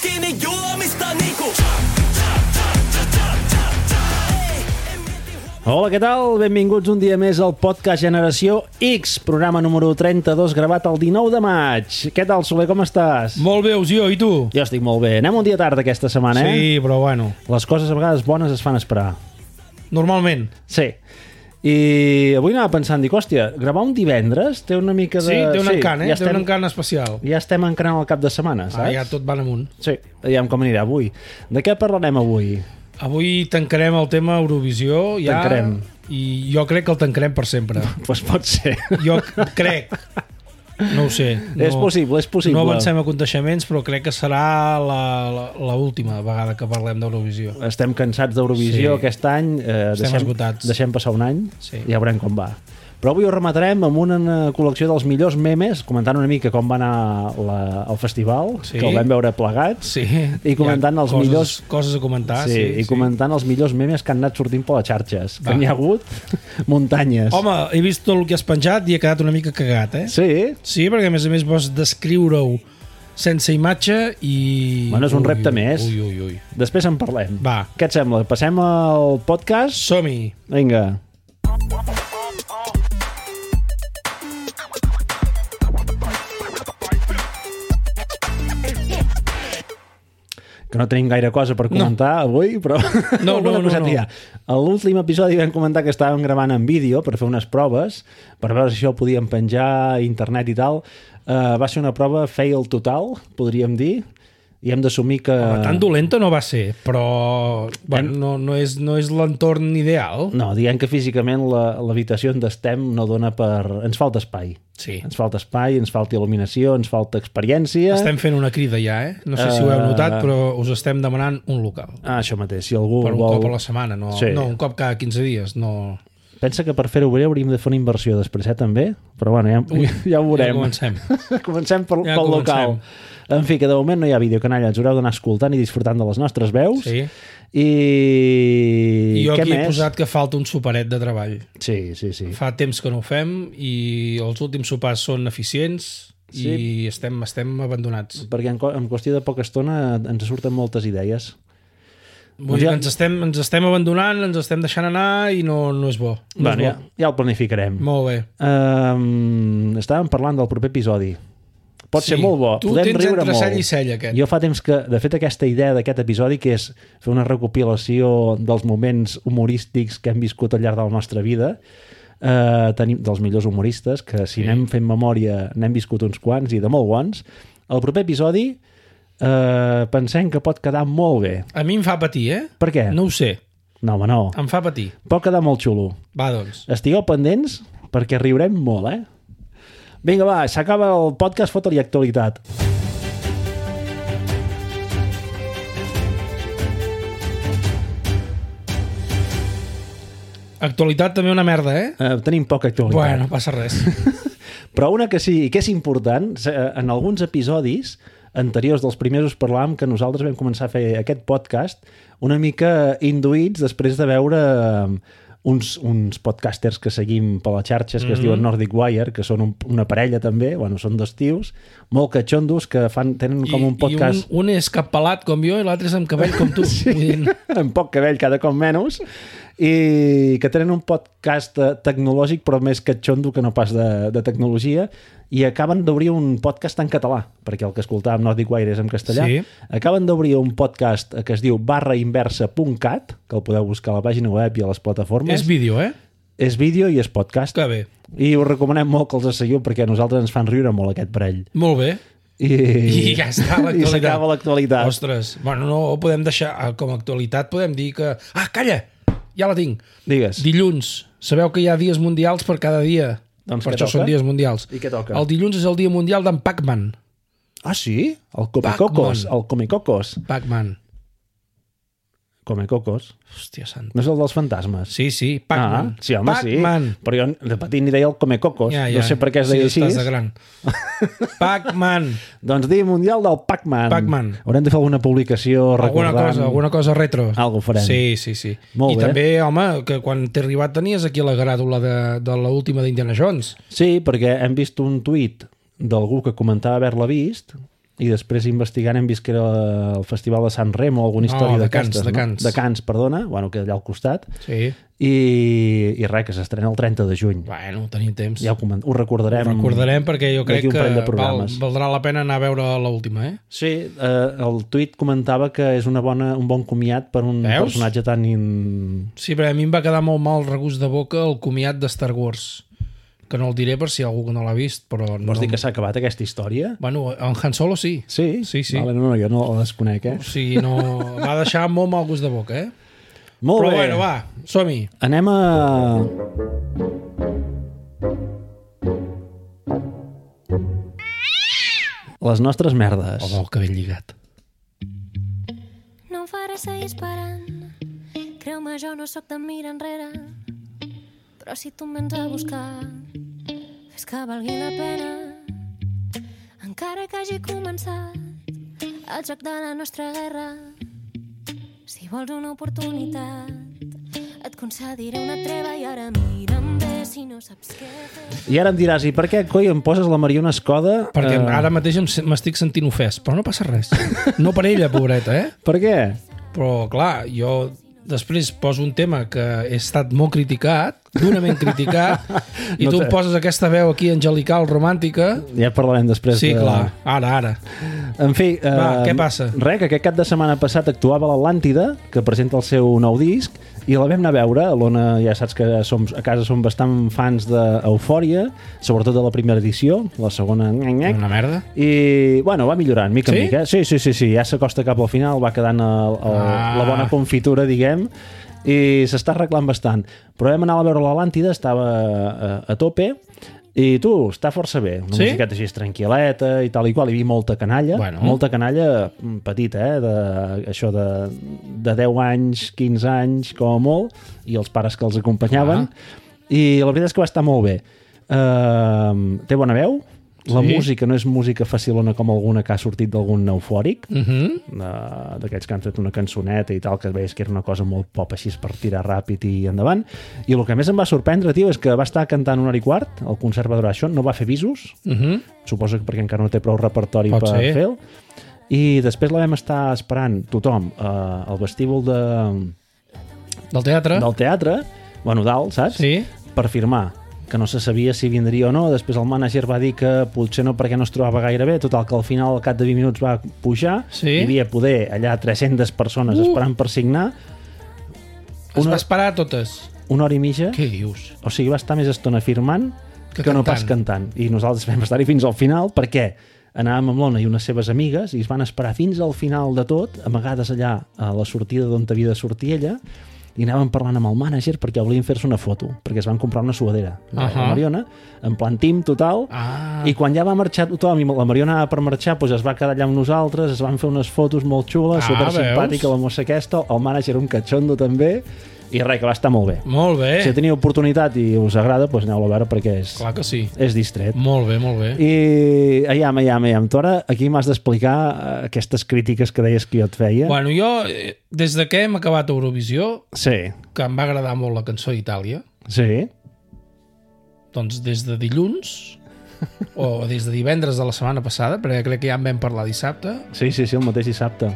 tiene yo a mis tanicos. niinku- Hola, què tal? Benvinguts un dia més al podcast Generació X, programa número 32, gravat el 19 de maig. Què tal, Soler, com estàs? Molt bé, Usió, i tu? Jo estic molt bé. Anem un dia tard aquesta setmana, eh? Sí, però bueno, Les coses a vegades bones es fan esperar. normalment. Sí. I avui anava pensant, dic, hòstia, gravar un divendres té una mica de... Sí, té un encant, eh? Ja Té estem, un encant especial. ja estem encarant el cap de setmana, saps? Ah, ja tot van amunt. Sí, aviam com anirà avui. De què parlarem avui? Avui tancarem el tema Eurovisió. Ja, Tancarem. I jo crec que el tancarem per sempre. Doncs pues pot ser. Jo crec. No ho sé. No, És possible, és possible. No avancem a aconteixements, però crec que serà la- la- l'última vegada que parlem d'Eurovisió. estem cansats d'Eurovisió Sí. sí. aquest any eh, Estem deixem, esgotats. deixem passar un any sí. Sí. i ja veurem com va però avui ho rematarem amb una eh, col·lecció dels millors memes comentant una mica com va anar la, el festival Sí. que el vam veure plegats Sí. i comentant Hi ha els coses, millors Coses a comentar, Ah, sí. i sí. comentant els millors memes que han anat sortint per les xarxes Va. que n'hi ha hagut muntanyes Home, he vist tot el que has penjat i he quedat una mica cagat, eh? sí Sí, perquè a més a més vas descriure-ho sense imatge i... Bueno, és un repte més. Ui, ui, ui. després en parlem Va. què et sembla? Passem al podcast? Som-hi. Vinga. que no tenim gaire cosa per comentar no. avui, però No, alguna no, no, coseta no. hi ha. A l'últim episodi vam comentar que estàvem gravant en vídeo per fer unes proves, per veure si això ho podíem penjar a internet i tal. Uh, va ser una prova fail total, podríem dir, i hem d'assumir que... Home, tan dolenta no va ser, però bueno, no, no és, no és l'entorn ideal. No, diem que físicament la- l'habitació on estem no dona per... Ens falta espai. Sí. Ens falta espai, ens falta il·luminació, ens falta experiència... Estem fent una crida ja, eh? No sé si ho heu notat, però us estem demanant un local. Ah, això mateix, si algú Per un vol... cop a la setmana, no, Sí. no un cop cada 15 dies. No... Pensa que per fer-ho bé hauríem de fer una inversió després, eh, també? Però bueno, ja, Ui, ja ho Ja veurem. comencem. comencem pel, Ja pel comencem. local. En fi, que de moment no hi ha vídeo, canalla. Ens haureu d'anar escoltant i disfrutant de les nostres veus. Sí. I... I jo Què aquí més? he posat que falta un superet de treball. Sí, sí, sí. Fa temps que no ho fem i els últims sopars són eficients sí. i estem, estem abandonats. Perquè en, co- en qüestió de poca estona ens surten moltes idees. Doncs Vull dir, que ens estem, ens estem abandonant, ens estem deixant anar i no, no és bo. No bueno, ja, és bo. ja el planificarem. Molt bé. Um, estàvem parlant del proper episodi. Pot Sí, ser molt bo, tu podem tens riure entre molt. cella i cella, aquest. Jo fa temps que, de fet, aquesta idea d'aquest episodi, que és fer una recopilació dels moments humorístics que hem viscut al llarg de la nostra vida, eh, tenim dels millors humoristes, que si sí. anem fent memòria n'hem viscut uns quants i de molt bons, el proper episodi eh, pensem que pot quedar molt bé. A mi em fa patir, eh? Per què? No ho sé. No, home, no. Em fa patir. Pot quedar molt xulo. Va, doncs. Estigueu pendents perquè riurem molt, eh? Vinga, va, s'acaba el podcast Fota-li Actualitat. Actualitat també una merda, eh? Eh, tenim poca actualitat. Bueno, no passa res. Però una que sí, i que és important, s- eh, en alguns episodis anteriors dels primers us parlàvem que nosaltres vam començar a fer aquest podcast una mica induïts després de veure eh, uns, uns podcasters que seguim per les xarxes que mm -hmm. es Mhm. diuen Nordic Wire, que són un, una parella també, bueno, són dos tios, molt catxondos que fan, tenen com un podcast... I un, un és cap pelat com jo i l'altre és amb cabell com tu. Sí. Vull dir, amb poc cabell cada cop menys i que tenen un podcast eh, tecnològic però més catxondo que no pas de, de tecnologia i acaben d'obrir un podcast en català perquè el que escoltàvem Nordic Wire és en castellà Sí. acaben d'obrir un podcast eh, que es diu barrainversa.cat que el podeu buscar a la pàgina web i a les plataformes és vídeo, eh? és vídeo i és podcast Que bé. i us recomanem molt que els seguiu perquè a nosaltres ens fan riure molt aquest parell Molt bé. i, I ja està i l'actualitat. s'acaba l'actualitat Ostres, bueno, no ho podem deixar ah, com a actualitat, podem dir que... Ah, calla! Ja la tinc. digues Dilluns. Sabeu que hi ha dies mundials per cada dia. Doncs per què això toca? són dies mundials. I què toca? El dilluns és el dia mundial d'en Pac-Man. ah sí? el Comecocos Pac-Man. el Comecocos Pac-Man. Comecocos Hòstia santa. No és el dels fantasmes? Sí, sí, Pac-Man. Ah, sí, home, sí. Pac-Man. Però jo de petit n'hi deia el Comecocos. Ja, ja. No sé per què es deia sí, sí, estàs de així. gran. Pac-Man. Doncs dia mundial del Pac-Man. Pac-Man. Haurem de fer alguna publicació Alguna recordant... cosa, alguna cosa retro. Algo farem. Sí, sí, sí. Molt I bé. també, home, que quan t'he arribat tenies aquí la gràdula de, de l'última d'Indiana Jones. Sí, perquè hem vist un tuit d'algú que comentava haver-la vist i després investigant hem vist que era el Festival de San Remo, alguna No, història de Cants, d'aquestes, de Cants. de Cants, perdona, bueno, que allà al costat. Sí. I, i res, que s'estrena el 30 de juny. Bueno, tenim temps. Ja ho, coment... ho recordarem. Ho recordarem perquè jo crec d'aquí un que parell de val, programes. valdrà la pena anar a veure l'última, eh? Sí, eh, el tuit comentava que és una bona, un bon comiat per un Veus? personatge tan... In... Sí, perquè a mi em va quedar molt mal regust de boca el comiat de Star Wars, que no el diré per si algú que no l'ha vist, però... Vols no... dir que s'ha acabat aquesta història? Bueno, en Han Solo sí. Sí? Sí, sí. Vale, no, no, jo no la desconec, eh? O sigui, no... va deixar molt mal gust de boca, eh? Molt Però bé. bueno, va, som-hi. Anem a... Les nostres merdes. Home, el cabell lligat. No em faràs seguir esperant. Creu-me, jo no sóc de mirar enrere. Però si tu em vens a buscar, fes que valgui la pena. Encara que hagi començat el joc de la nostra guerra. Si vols una oportunitat, et concediré una treva i ara mira'm bé si no saps què fer. I ara em diràs, i per què, coi, em poses la Mariona Escoda? Eh, Perquè ara mateix em se- m'estic sentint ofès, però no passa res. No per ella, pobreta, eh? Per què? Però, clar, jo després poso un tema que he estat molt criticat, durament criticat, i No tu te- em poses aquesta veu aquí angelical, romàntica... Ja parlarem després. Sí, de- clar, ara, ara. En fi... Eh, Va, què passa? Res, que aquest cap de setmana passat actuava a l'Atlàntida, que presenta el seu nou disc, i la vam anar a veure. L'Ona, ja saps que som, a casa som bastant fans d'Eufòria, sobretot de la primera edició, la segona... Nyac, Una merda. i bueno, va millorant mica Sí? en mica sí, sí, sí, sí ja s'acosta cap al final va quedant el, el, ah. Ah. la bona confitura diguem i s'està arreglant bastant però vam anar a veure l'Atlàntida estava a, a tope i tu, està força bé una Sí? musiqueta així tranquil·leta i tal i qual hi havia molta canalla, Bueno. molta canalla mm, petita, eh? de, això de, de 10 anys, 15 anys com a molt, i els pares que els acompanyaven i la veritat és que va estar molt bé uh, té bona veu la Sí. música no és música facilona com alguna que ha sortit d'algun eufòric Uh -huh. eh, d'aquests que han fet una cançoneta i tal, que veies que era una cosa molt pop així per tirar ràpid i endavant i el que més em va sorprendre, tio, és que va estar cantant una hora i quart, el conservador això no va fer visos, Uh -huh. suposo que perquè encara no té prou repertori Pot per ser. fer-lo i després la vam estar esperant tothom eh, al vestíbul de, Del teatre? del teatre bueno, dalt, saps? Sí. per firmar que no se sabia si vindria o no, després el mànager va dir que potser no perquè no es trobava gaire bé, total que al final al cap de 20 minuts va pujar, Sí. hi havia poder allà 300 persones uh. esperant per signar, Es Una- va esperar a totes. una hora i mitja, Què dius? o sigui va estar més estona firmant que, Que que no cantant. pas cantant, i nosaltres vam estar-hi fins al final, perquè anàvem amb l'Ona i unes seves amigues i es van esperar fins al final de tot, amagades allà a la sortida d'on havia de sortir ella, i anàvem parlant amb el mànager perquè volien fer-se una foto, perquè es van comprar una suadera, uh -huh. la Ahà. Mariona, en plan team total, Ah, i quan ja va marxar tothom i la Mariona anava per marxar, doncs es va quedar allà amb nosaltres, es van fer unes fotos molt xules, Ah, super simpàtica veus? la mossa aquesta, el mànager un catxondo també, i res, que va estar molt bé. molt bé. Si teniu oportunitat i us agrada, doncs aneu-lo a veure perquè és, Eh. Clar que sí. és distret. Molt bé, molt bé. I aiam, aiam, aiam. Tu ara aquí m'has d'explicar eh, aquestes crítiques que deies que jo et feia. Bueno, jo, eh, des de que hem acabat Eurovisió, Sí, que em va agradar molt la cançó d'Itàlia, sí. doncs des de dilluns, o des de divendres de la setmana passada, perquè crec que ja en vam parlar dissabte, Sí, sí, sí, el mateix dissabte.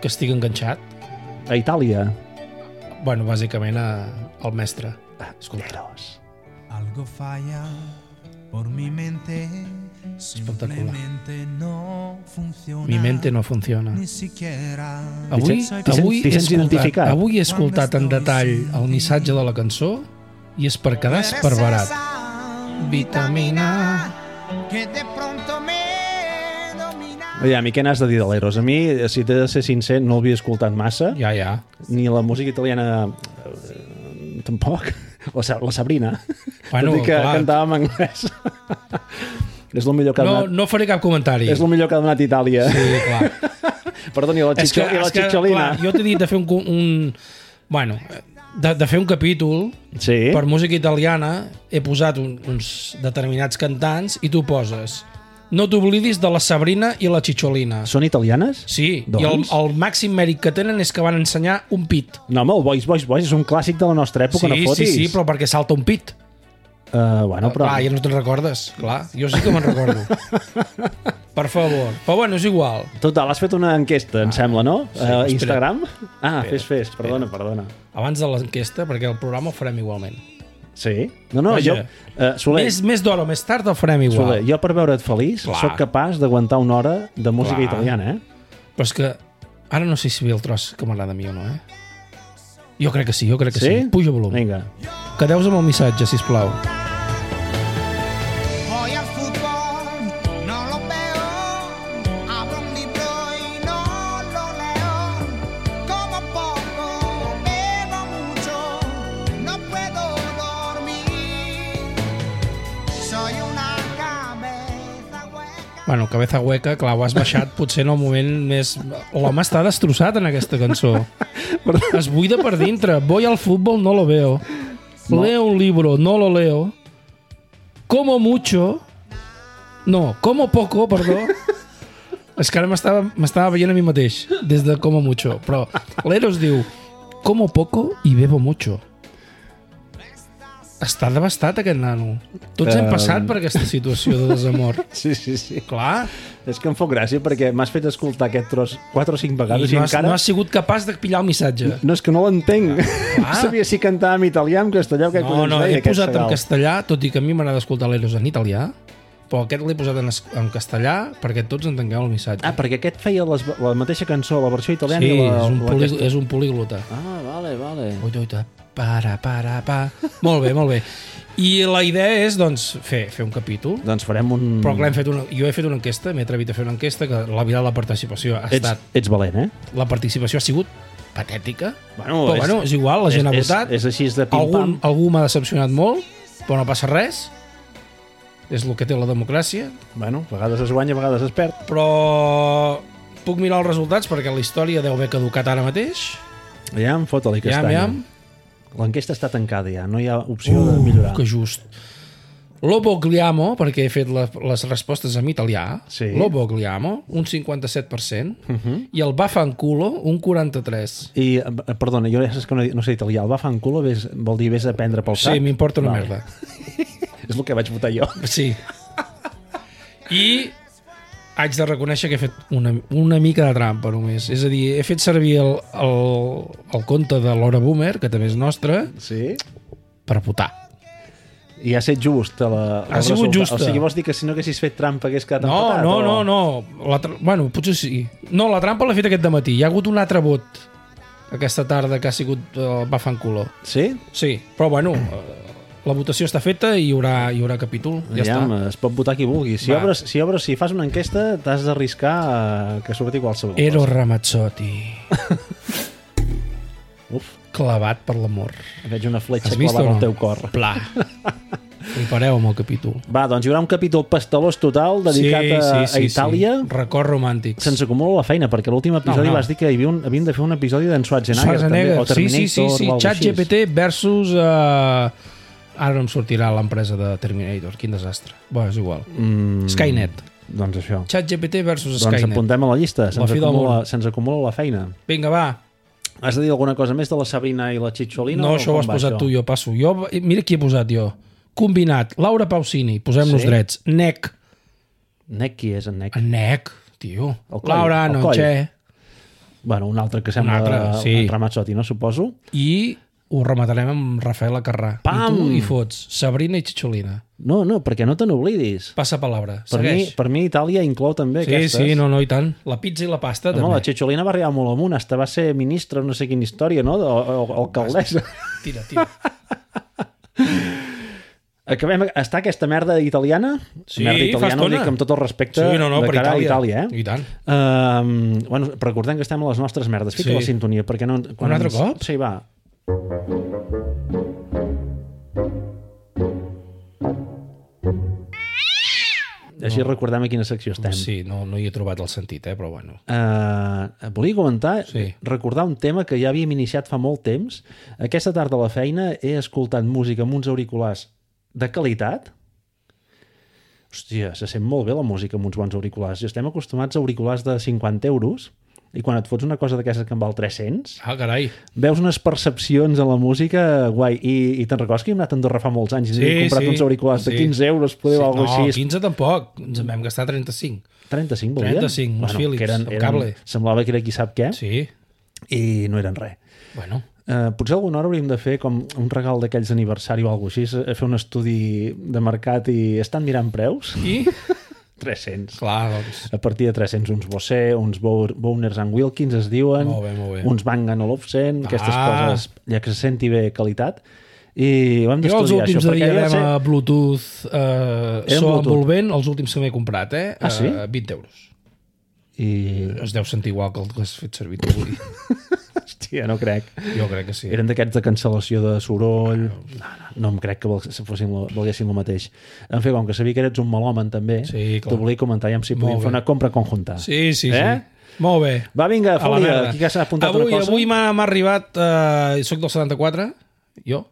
que estic enganxat, A Itàlia. bueno, bàsicament a, al mestre. Escolta, Eros. Algo falla por mi mente, Espectacular. simplemente no funciona. Ah. mi mente no funciona. Ni siquiera. Avui, T'hi sents- avui, t'hi he sents escoltat, identificat? avui he escoltat en detall el missatge de la cançó i és per quedar Perverat. esparverat. Vitamina. Que de pronto me domina. Aviam, i què n'has de dir de l'Eros? A mi, eh, si t'he de ser sincer, no l'havia escoltat massa, Ja, ja. ni la música italiana eh, tampoc. La, Sa- la Sabrina. Bueno, Tot i que clar. cantava en anglès. és el millor que ha No, donat, no faré cap comentari. és el millor que ha donat Itàlia. Sí, clar. Perdoni, la, És xixo, i la és xixolina. clar, jo t'he dit de fer un... co- un bueno, de, de fer un capítol Sí, per música italiana he posat un, uns determinats cantants i tu poses no t'oblidis de la Sabrina i la Chicholina. són italianes? Sí, doncs? i el, Doncs? el màxim mèrit que tenen és que van ensenyar un pit. No, home, el Boys, Boys, Boys és un clàssic de la nostra època, no sí, sí, fotis. sí, però perquè salta un pit. Uh, bueno, però... Clar, ja no te'n recordes, clar. Jo sí que me'n recordo. Per favor. Però bueno, és igual. Total, has fet una enquesta, em sembla, no? Ah, sí, Sí, espera. Instagram? Ah, fes, fes, perdona, perdona. Abans de l'enquesta, perquè el programa el farem igualment. Sí? No, no, Vaja. jo... Uh, Soler, Més, més d'hora o més tard el farem igual. Soler, jo per veure't feliç Clar. sóc capaç d'aguantar una hora de música Clar. italiana, eh? Però és que ara no sé si ve el tros que m'agrada a mi o no, eh? Jo crec que sí, jo crec que sí. sí. Puja volum. Vinga. Vinga. Quedeu-vos amb el missatge, si plau. Voy al fútbol, no lo veo. Abro un libro y no lo leo. Como poco, bebo mucho. No puedo dormir. Soy una cabeza hueca. Bueno, cabeza hueca, clar, ho has baixat potser en el moment més... L'home està destrossat en aquesta cançó. es buida per dintre. Voy al fútbol, no lo veo. Leo un libro, no lo leo. Como mucho... No, como poco, perdó. És que ara m'estava m'estava veient a mi mateix, des de como mucho. Però l'Eros diu, como poco i bebo mucho. Està devastat aquest nano. Tots hem Eh, passat per aquesta situació de desamor. Sí, sí, sí. Clar, És que em fot gràcia perquè m'has fet escoltar aquest tros 4 o 5 vegades i, I no, has, encara... no has sigut capaç de pillar el missatge. No, és que no l'entenc. No sabia si cantava en italià, en castellà, o què No, collons no, deia he aquest posat en Segal. castellà, tot i que a mi m'agrada escoltar l'Eros en italià, però aquest l'he posat en, es- en castellà perquè tots entengueu el missatge. Ah, perquè aquest feia les, la mateixa cançó, la versió italiana sí, i la... és, un la poli, aquesta. és un poliglota. Ah, vale, vale. Ui, ui, ta- para, para, pa. Molt bé, molt bé. I la idea és, doncs, fer, fer un capítol, Doncs farem un... però clar, hem fet una, jo he fet una enquesta, m'he atrevit a fer una enquesta, que la vida de la participació ha ets, estat... ets valent, eh? La participació ha sigut patètica, Bueno, però bueno, és igual, la gent ha és, votat. És, és així de algun, pim-pam. algú m'ha decepcionat molt, però no passa res. És el que té la democràcia. Bueno, a vegades es guanya, a vegades es perd. Però puc mirar els resultats perquè la història deu haver caducat ara mateix. Ja em fot-li Ja, castanya. ja. L'enquesta està tancada ja, no hi ha opció de millorar. Que just. L'Obogliamo, perquè he fet la, les respostes en italià, Sí. Mhm. l'Obogliamo, un 57%, uh -huh. i el Bafanculo, un 43%. I, eh, perdona, jo ja saps que no, no sé italià. El va fan culo ves, vol dir vés a prendre pel sac. Sí, m'importa una Vale. merda. És el que vaig votar jo. Sí. I haig de reconèixer que he fet una, una mica de trampa només. És a dir, he fet servir el, el, el compte de Laura Boomer, que també és nostre, Sí? per putar. I ha set just. a La, Ha el sigut resultat. justa. O sigui, vols dir que si no haguessis fet trampa hagués quedat No, empatat? no, o... no, no. La tra... Bueno, potser sí. No, la trampa l'he fet aquest matí. Hi ha hagut un altre vot aquesta tarda que ha sigut eh, el Bafanculo. Sí? Sí, però bueno, eh, la votació està feta i hi haurà, hi haurà capítol. Ja està. es pot votar qui vulgui. Si Va. obres, si obres, si fas una enquesta, t'has d'arriscar a que surti qualsevol Ero Ramazzotti, cosa. Uf, clavat per l'amor. veig una fletxa Has vist clavada o no? al teu cor. Pla. Prepareu amb el capítol. Va, doncs hi haurà un capítol pastelós total dedicat a, a Itàlia. Sí. Record romàntic. Se'ns acumula la feina, perquè l'últim episodi no. vas dir que hi havia un, havíem de fer un episodi d'en Schwarzenegger, també, o sí, Terminator, sí, sí, sí. o algo Chat així. GPT versus... Uh... Ara no em sortirà l'empresa de Terminator, quin desastre. Bé, és igual. Mm. Skynet. Doncs això. Chat GPT versus Doncs Skynet. apuntem a la llista, se'ns fi del acumula, món. se'ns acumula la feina. Vinga, va. Has de dir alguna cosa més de la Sabrina i la Chicholina? No, no això ho has posat tu, jo passo. Jo, mira qui he posat jo. Combinat, Laura Pausini, posem-nos Sí? sí? drets. Nec. Nec, qui és en Nec? En Nec, tio. El coll, Laura, el no, coll. che. Bueno, un altre que sembla altre, altre, sí. sí. en Ramazzotti, no suposo? I ho rematarem amb Rafael Acarrà. Pam! I tu hi fots Sabrina i Chicholina. No, no, perquè no te n'oblidis. Passa palabra. Per mi, Segueix. per mi Itàlia inclou també sí, aquestes. sí, no, no, i tant. La pizza i la pasta, No, la també. Chicholina va arribar molt amunt, hasta va ser ministra, no sé quina història, no? O, o, o alcaldessa. Tira, tira. Acabem, està aquesta merda italiana? Sí, merda fa italiana, ho estona. dic amb tot el respecte Sí, no, no, de per cara a Itàlia. Itàlia, eh? I tant. Um, bueno, recordem que estem a les nostres merdes. Fica Sí. la sintonia, perquè no... Un altre ens- cop? Sí, va. Així recordem a quina secció estem. Sí, no, no hi he trobat el sentit, eh? però bueno. Uh, volia comentar, sí. Sí. recordar un tema que ja havíem iniciat fa molt temps. Aquesta tarda a la feina he escoltat música amb uns auriculars de qualitat. Hòstia, se sent molt bé la música amb uns bons auriculars. I estem acostumats a auriculars de 50 euros i quan et fots una cosa d'aquestes que en val 300, Ah, carai. veus unes percepcions en la música guai. I, i te'n recordes que hem anat a Andorra fa molts anys i Sí, sí, hem comprat sí. sí. uns auriculars de Sí. 15 euros, poder, sí. o no, alguna cosa així. 15 tampoc. Ens en vam gastar 35. 35 volien? 35, uns Philips, que eren, amb eren, cable. semblava que era qui sap què, sí. Sí, i no eren res. bueno. Uh, potser alguna hora hauríem de fer com un regal d'aquells d'aniversari o alguna cosa així, eh, fer un estudi de mercat i estan mirant preus? I, 300. clar, doncs... A partir de 300, uns Bosé, uns Bow- Bowners and Wilkins es diuen, Molt bé, molt bé. uns Bang Olufsen, aquestes Ah. coses, ja que se senti bé qualitat. I ho hem Jo els d'estudiar, això, últims de perquè ja sé... diadema Bluetooth eh, Eren so Bluetooth. envolvent, els últims que m'he comprat, eh? Ah, sí? Eh, 20 euros. I... Es deu sentir igual que el que has fet servir tu avui. Hòstia, no crec. jo crec que sí. Eren d'aquests de cancel·lació de soroll... No, no, no em crec que vol- se fossin, lo- volguessin el mateix. En fi, com que sabia que eres un malhomen, també, Sí, clar. t'ho volia comentar, ja si Molt podíem bé. fer una compra conjunta. Sí, sí, Eh? sí. Molt bé. Va, vinga, A la merda. Fúria, aquí que s'ha apuntat avui, una cosa. Avui m'ha m'ha arribat, eh, soc del 74, jo,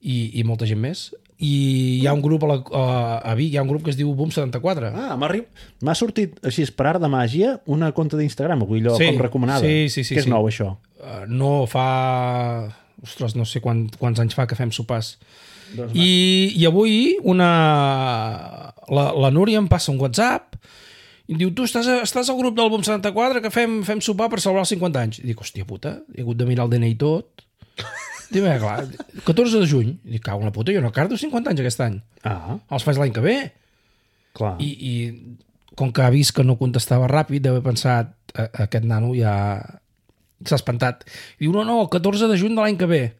i, i molta gent més, i hi ha un grup a, la, a, a Vic, hi ha un grup que es diu Boom 74. Ah, m'ha arri- m'ha sortit així per art de màgia una conta d'Instagram, avui allò Sí, com recomanada. sí, sí, sí, que és sí. nou, això. Eh, no fa... Ostres, no sé quan, quants anys fa que fem sopars. Doncs I, I avui una... La, la Núria em passa un WhatsApp i em diu, tu estàs, a- estàs al grup del BOM 74 que fem, fem sopar per celebrar els 50 anys. I dic, hòstia puta, he hagut de mirar el DNI i tot. Dic, "Bé, clar, 14 de juny. I dic, cago en la puta, jo no cardo 50 anys aquest any. Ah, Els faig l'any que ve. clar. I, I com que ha vist que no contestava ràpid, deu haver pensat, "A- aquest nano ja s'ha espantat. I diu, no, no, el 14 de juny de l'any que ve.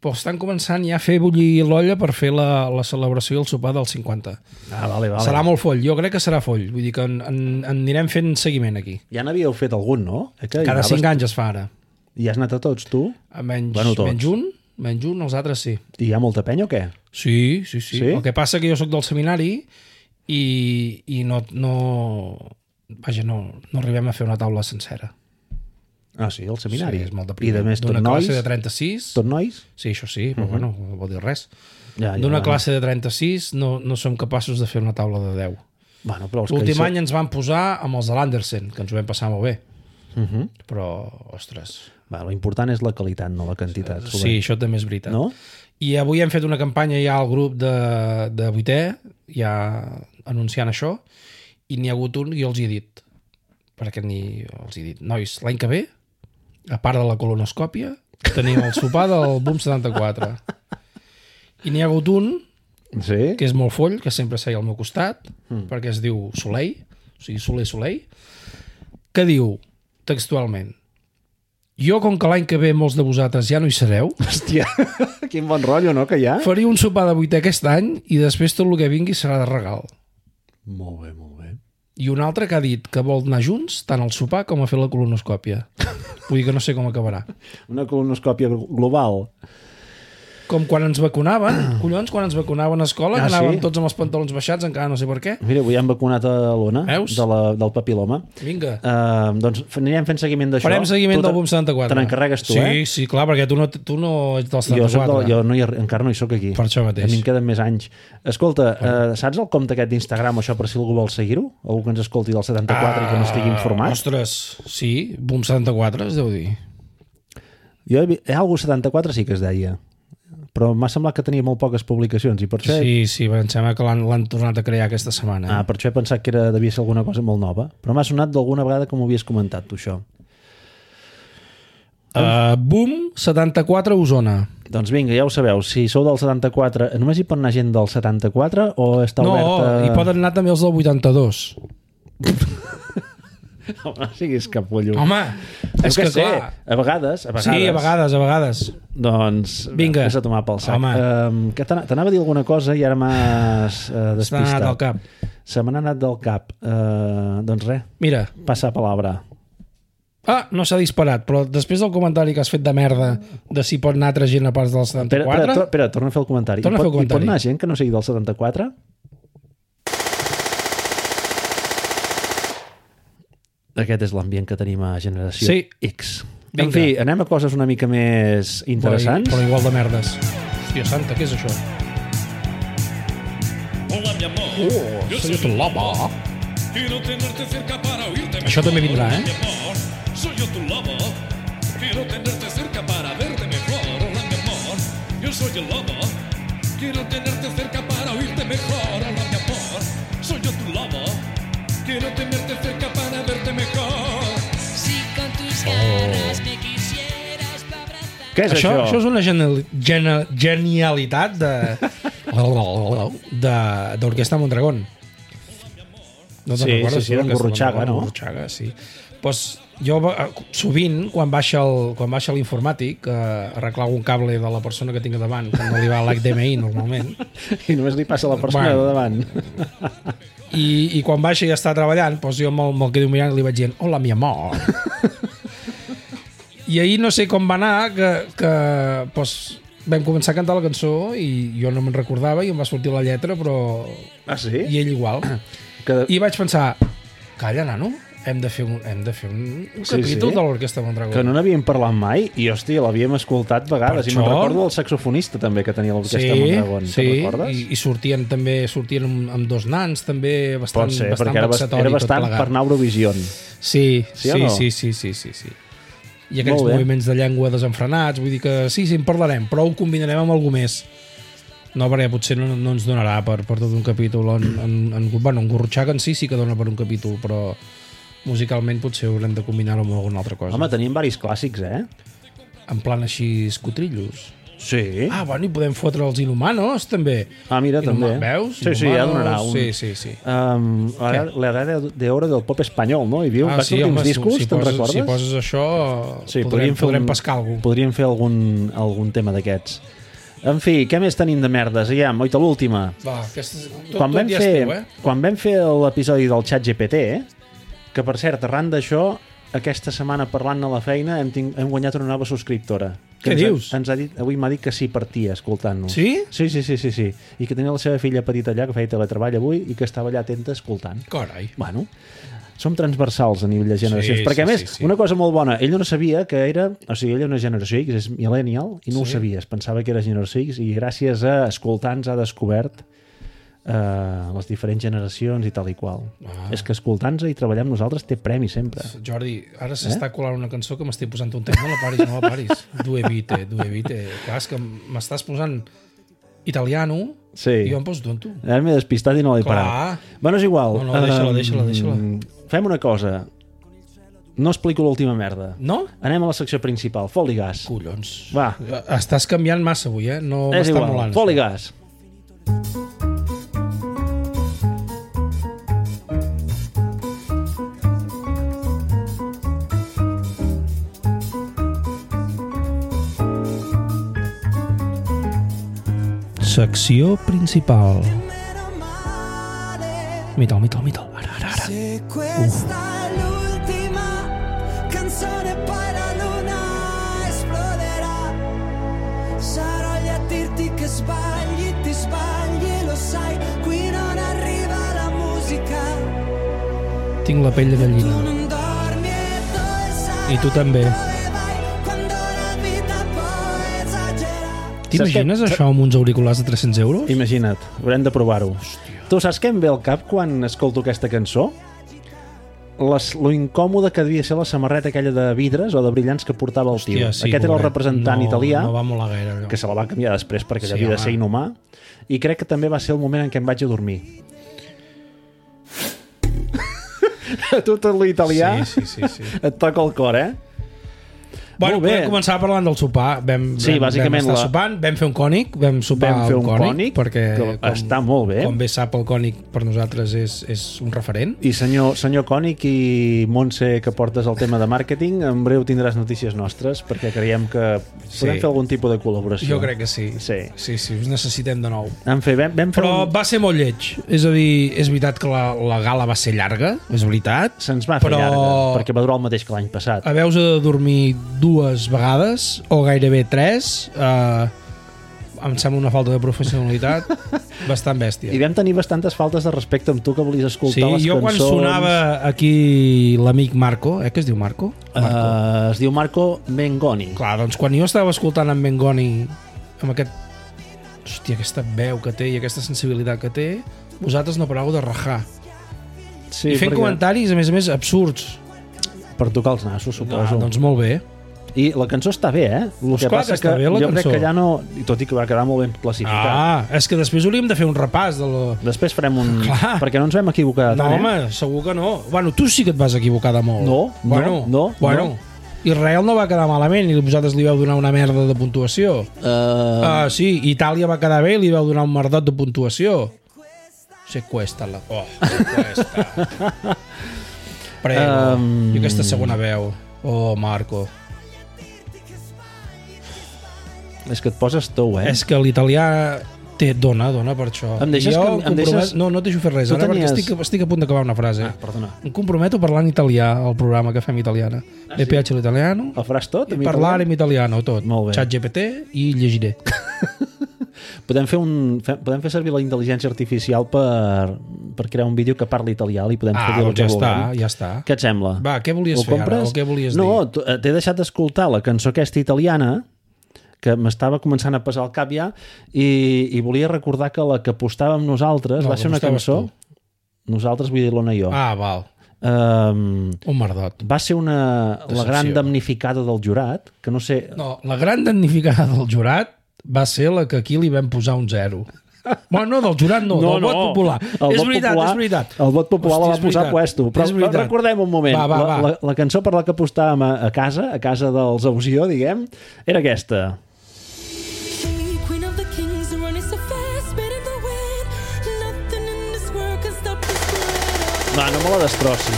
Però estan començant ja a fer bullir l'olla per fer la, la celebració i el sopar del 50. Ah, vale, vale. Serà molt foll, jo crec que serà foll. Vull dir que en, en, en anirem fent seguiment aquí. Ja n'havíeu fet algun, no? Eh, Que hi Cada anaves- 5 anys es fa ara. I has anat a tots, tu? A Menys, Bueno, bueno, tots. menys un, menys un, els altres sí. I hi ha molta penya o què? Sí, sí, sí. Sí? sí? El que passa que jo sóc del seminari i, i no, no, vaja, no, no arribem a fer una taula sencera. Ah, sí, el seminari. Sí, és molt I deprimit. de més, tot D'una nois, classe de 36... tot nois? Sí, això sí, però bueno, no vol dir res. Ja, ja, D'una bueno. classe de 36 no, no som capaços de fer una taula de 10. Bueno, però els que hi L'últim són- any ens van posar amb els de l'Andersen, que ens ho vam passar molt bé. Mhm. Però, ostres... Va, l'important és la qualitat, no la quantitat. Sí, això també és veritat. No? I avui hem fet una campanya ja al grup de, de vuitè, ja anunciant això, i n'hi ha hagut un i els hi he dit, perquè ni els hi he dit, nois, l'any que ve, a part de la colonoscòpia, tenim el sopar del Boom 74. I n'hi ha hagut un, Sí? que és molt foll, que sempre seia al meu costat, perquè es diu Soleil, o sigui, Soler Soleil, que diu, textualment, jo, com que l'any que ve molts de vosaltres ja no hi sereu, Hòstia, quin bon rotllo, no, que hi ha? Faria un sopar de vuitè aquest any i després tot el que vingui serà de regal. Molt bé, molt bé. I un altre que ha dit que vol anar junts tant al sopar com a fer la colonoscòpia. Vull dir que no sé com acabarà. Una colonoscòpia global. Com quan ens vacunaven, collons, quan ens vacunaven a escola, Ah, ah, anàvem sí? tots amb els pantalons baixats, encara no sé per què. Mira, avui han vacunat a l'Ona, Veus? de la, del papiloma. Vinga, Uh, doncs f- anirem fent seguiment d'això. farem Tu seguiment te- del Boom 74. Te n'encarregues tu, sí, eh? Sí, sí, clar, perquè tu no, tu no ets del Jo, soc 74. del, jo no hi, arri- encara no hi sóc aquí. Per això mateix. A mi em queden més anys. Escolta, uh, saps el compte aquest d'Instagram, això, per si algú vol seguir-ho? Algú que ens escolti del 74 i que no estigui informat? Ah, Ostres, sí, Boom 74 es deu dir. Jo he vist... Algo 74 sí que es deia, però m'ha semblat que tenia molt poques publicacions i per això, Sí, sí, em sembla que l'han l'han tornat a crear aquesta setmana. ah, per això he pensat que era, devia ser alguna cosa molt nova. Però m'ha sonat d'alguna vegada que m'ho havies comentat, tu, això. Uh, boom 74 Osona. Doncs vinga, ja ho sabeu, si sou del 74, només hi pot anar gent del 74 o està No, oberta... hi poden anar també els del 82. Home, no siguis capullo. Home, és que, sé, clar... a vegades, a vegades... Sí, a vegades, a vegades. Doncs, Vinga. vés a tomar pel sac. Home. Um, que t'ana- t'anava a dir alguna cosa i ara m'has uh, S'ha anat despistat. al cap. Se me n'ha anat del cap. Uh, doncs res, Mira, passa a palabra. ah, no s'ha disparat, però després del comentari que has fet de merda de si pot anar altra gent a parts del Espera, espera, 74... to- espera, torna a fer el comentari. hi Torna a pot, fer el comentari. Hi pot anar gent que no sigui del 74? Aquest és l'ambient que tenim a Generació Sí. X. Vinga. En fi, anem a coses una mica més interessants. Però, però igual de merdes. Hòstia santa, què és això? Hola, mi amor. Oh, soy otro lobo. Quiero tenerte cerca para oírte mejor. Això també vindrà, eh? Mi amor, soy yo tu lobo. Quiero tenerte cerca para verte mejor. Hola, mi amor. Yo soy el lobo. Quiero tenerte cerca para oírte mejor. Hola, mi amor. Soy yo tu lobo. Quiero Quiero tenerte cerca para verte mejor. Si con tus garras me quisieras pa' abrazar. Què és Això, això? això és una genial, gena- genialitat de de- d'Orquestra Mondragón. No te'n Sí, recordes, sí, sí, tu, d'en d'Orquestra Gurrutxaga, Mondragón? no? Gurrutxaga, sí. Pues jo eh, sovint, quan baixa el, quan baixa l'informàtic, eh, arreglar un cable de la persona que tinc a davant, quan no li va l'HDMI normalment, I només li passa a la persona Bueno. de davant. i, i quan baixa i està treballant doncs jo me'l me quedo mirant i li vaig dient hola mi amor i ahir no sé com va anar que, que doncs, vam començar a cantar la cançó i jo no me'n recordava i em va sortir la lletra però Ah, sí? i ell igual Que... i vaig pensar calla nano hem de fer un, hem de fer un, un Sí, sí, capítol sí. sí. de l'Orquestra Mondragón que no n'havíem parlat mai i, hòstia, l'havíem escoltat vegades. Per I me'n això- recordo del saxofonista també que tenia l'orquestra Mondragón. sí, Te'n recordes? i, i sortien també sortien amb, amb dos nans també bastant, Pot ser, bastant perquè era, bast- vexatori era tot bastant plegat. per anar a Eurovision. Sí, Sí sí, o no? sí, sí, sí, sí, sí, sí. I aquells Molt bé. moviments de llengua desenfrenats, vull dir que sí, sí, en parlarem, però ho combinarem amb algú més. No, perquè potser no, no ens donarà per, per tot un capítol. En, en, en, bueno, en Gorrutxac en sí sí que dona per un capítol, però musicalment potser haurem de combinar-ho amb alguna altra cosa. Home, teníem varis clàssics, eh? En plan així escotrillos. Sí. Ah, bueno, i podem fotre els inhumanos, també. Ah, mira, també. Inhuman- Veus? Sí, sí, ja donarà Inhumanos, un... Sí, sí, sí. Um, la, Què? la edad de- d'oro del pop espanyol, no? Hi havia ah, sí, últims home, discos, si, si, te'n poses, recordes? Si poses això, sí, podrem, podrem pescar alguna Podríem fer algun, algun tema d'aquests. En fi, què més tenim de merdes? Ja, moita l'última. Va, aquestes... tot, Quan, tot vam ja fer, és teu, eh? quan vam fer l'episodi del xat GPT, que per cert, arran d'això, aquesta setmana parlant a la feina hem, ting hem guanyat una nova subscriptora. Que Què ens dius? Ha, ens ha dit, avui m'ha dit que sí partia escoltant-nos. Sí? Sí, sí, sí, sí, sí. I que tenia la seva filla petita allà, que feia teletreball avui, i que estava allà atenta escoltant. Carai. Bueno, som transversals a nivell de generacions, Sí, perquè a sí, més, sí, sí. una cosa molt bona, ell no sabia que era, o sigui, ell era una generació X, és millennial, i no sí. ho sabia, es pensava que era generació X, i gràcies a escoltants ha descobert eh, les diferents generacions i tal i qual. Ah. És que escoltants i treballar amb nosaltres té premi sempre. Jordi, ara s'està eh? colant una cançó que m'estic posant un tema, no la paris, no la paris. Du evite, du evite. Clar, és que m'estàs posant italiano Sí. i jo em poso tonto. Ara m'he despistat i no l'he Clar. parat. Bueno, és igual. No, no, deixa-la, Em, deixa-la, deixa-la. Fem una cosa. No explico l'última merda. No? Anem a la secció principal. Foli gas. Collons. Va, Estàs canviant massa avui, eh? No és m'està igual. molant. Foli gas. Secció principal. Mital, mital, mital. Ara, ara, ara. Se questa è l'ultima canzone, poi la luna esploderà. Sarò lì a dirti che sbagli, ti sbagli, lo sai, qui non arriva la musica. Tinc la pell de Tu gallina. non dormi e dove sai I tu també. dove vai quando la vita poi esagera. T'imagines Saps què? això amb uns auriculars de 300 euros? Imagina't, haurem de provar-ho. Tu saps què em ve al cap quan escolto aquesta cançó? Les, lo incòmode que devia ser la samarreta aquella de vidres o de brillants que portava el tio. Hòstia, sí, Aquest era el pobret. representant no, italià No va molar gaire, allò. que se la va canviar després perquè sí, Sí, havia de home. ser inhumà i crec que també va ser el moment en què em vaig a dormir a tu tot l'italià sí, Sí, sí, sí, sí. sí. et toca el cor, eh? Bueno, Molt bé. podem començar parlant del sopar. Vam, Sí, vam, bàsicament vam estar la- sopant, vam fer un cònic, vam sopar Vam fer al un cònic, perquè que està molt bé. Com bé sap, el cònic per nosaltres és, és un referent. I senyor, senyor Cònic i Montse, que portes el tema de màrqueting, en breu tindràs notícies nostres, perquè creiem que podem Sí. fer algun tipus de col·laboració. Jo crec que sí. Sí. Sí, sí, us necessitem de nou. En fi, vam, vam fer Però un... va ser molt lleig. És a dir, és veritat que la, la gala va ser llarga, és veritat. Se'ns va fer però- Ah, llarga, perquè va durar el mateix que l'any passat. Haveus de dormir dues vegades, o gairebé tres. Eh, em sembla una falta de professionalitat bastant bèstia. I vam tenir bastantes faltes de respecte amb tu que volies escoltar Sí, les jo quan cançons. sonava aquí l'amic Marco, eh, que es diu Marco? Marco. Uh, es diu Marco Mengoni. Uh, Clar, doncs quan jo estava escoltant en Bengoni amb aquest... Hòstia, aquesta veu que té i aquesta sensibilitat que té, vosaltres no pareu de rajar. Sí, I fent perquè- comentaris, a més a més, absurds. Per tocar els nassos, Ah, suposo. doncs molt bé. I la cançó està bé, eh? El Doncs clar que està bé, la jo cançó. crec que ja no... I tot i que va quedar molt ben classificat. Ah, és que després hauríem de fer un repàs de la... Després farem un... Clar. Perquè no ens vam equivocar No, tant, eh? home, segur que no. Bueno, tu sí que et vas equivocar de molt. No, no, bueno, no, Bueno, no. Israel no va quedar malament i vosaltres li vau donar una merda de puntuació. Uh, Ah, sí, Itàlia va quedar bé i li vau donar un merdot de puntuació. Se cuesta la... Oh, se cuesta. Prego. Um. I aquesta segona veu. Oh, Marco. és que et poses tou, eh? És que l'italià té dona, dona per això. Em deixes I jo que- em compromet- deixes- No, no et deixo fer res, Tu ara, tenies- perquè estic, estic a punt d'acabar una frase. Ah, perdona. Em comprometo a parlar en italià al programa que fem italiana. Ah, sí? PH l'italiano, El faràs tot? en parlar italià? en italiano, tot. Ah, Molt bé. Xat GPT i llegiré. Podem fer, un, fe, podem fer servir la intel·ligència artificial per, per crear un vídeo que parli italià i podem Ah, fer doncs ja està, ja està. Què et sembla? Va, què volies Ho fer ara, compres? o què volies no, dir? t- eh, t'he deixat d'escoltar la cançó aquesta italiana que m'estava començant a pesar el cap ja i, i volia recordar que la que apostàvem nosaltres No, va que ser una apostaves cançó nosaltres vull dir l'Ona i jo Ah, val. Ehm, Un merdot. va ser una, la Decepció. gran damnificada del jurat que no sé, No, la gran damnificada del jurat va ser la que aquí li vam posar un zero. Bueno, no, del jurat no, No, del vot no. popular. El és vot veritat, popular- és veritat. el vot popular la va és posar veritat, puesto, però- és però veritat. recordem un moment. Va, va, La- va. la- la cançó per la que apostàvem a- a casa, a casa dels Ausió, diguem, era aquesta. King, queen of the kings, running so fast, spinning the wind. Nothing in this world can stop this blood. Va, no me la destrossis.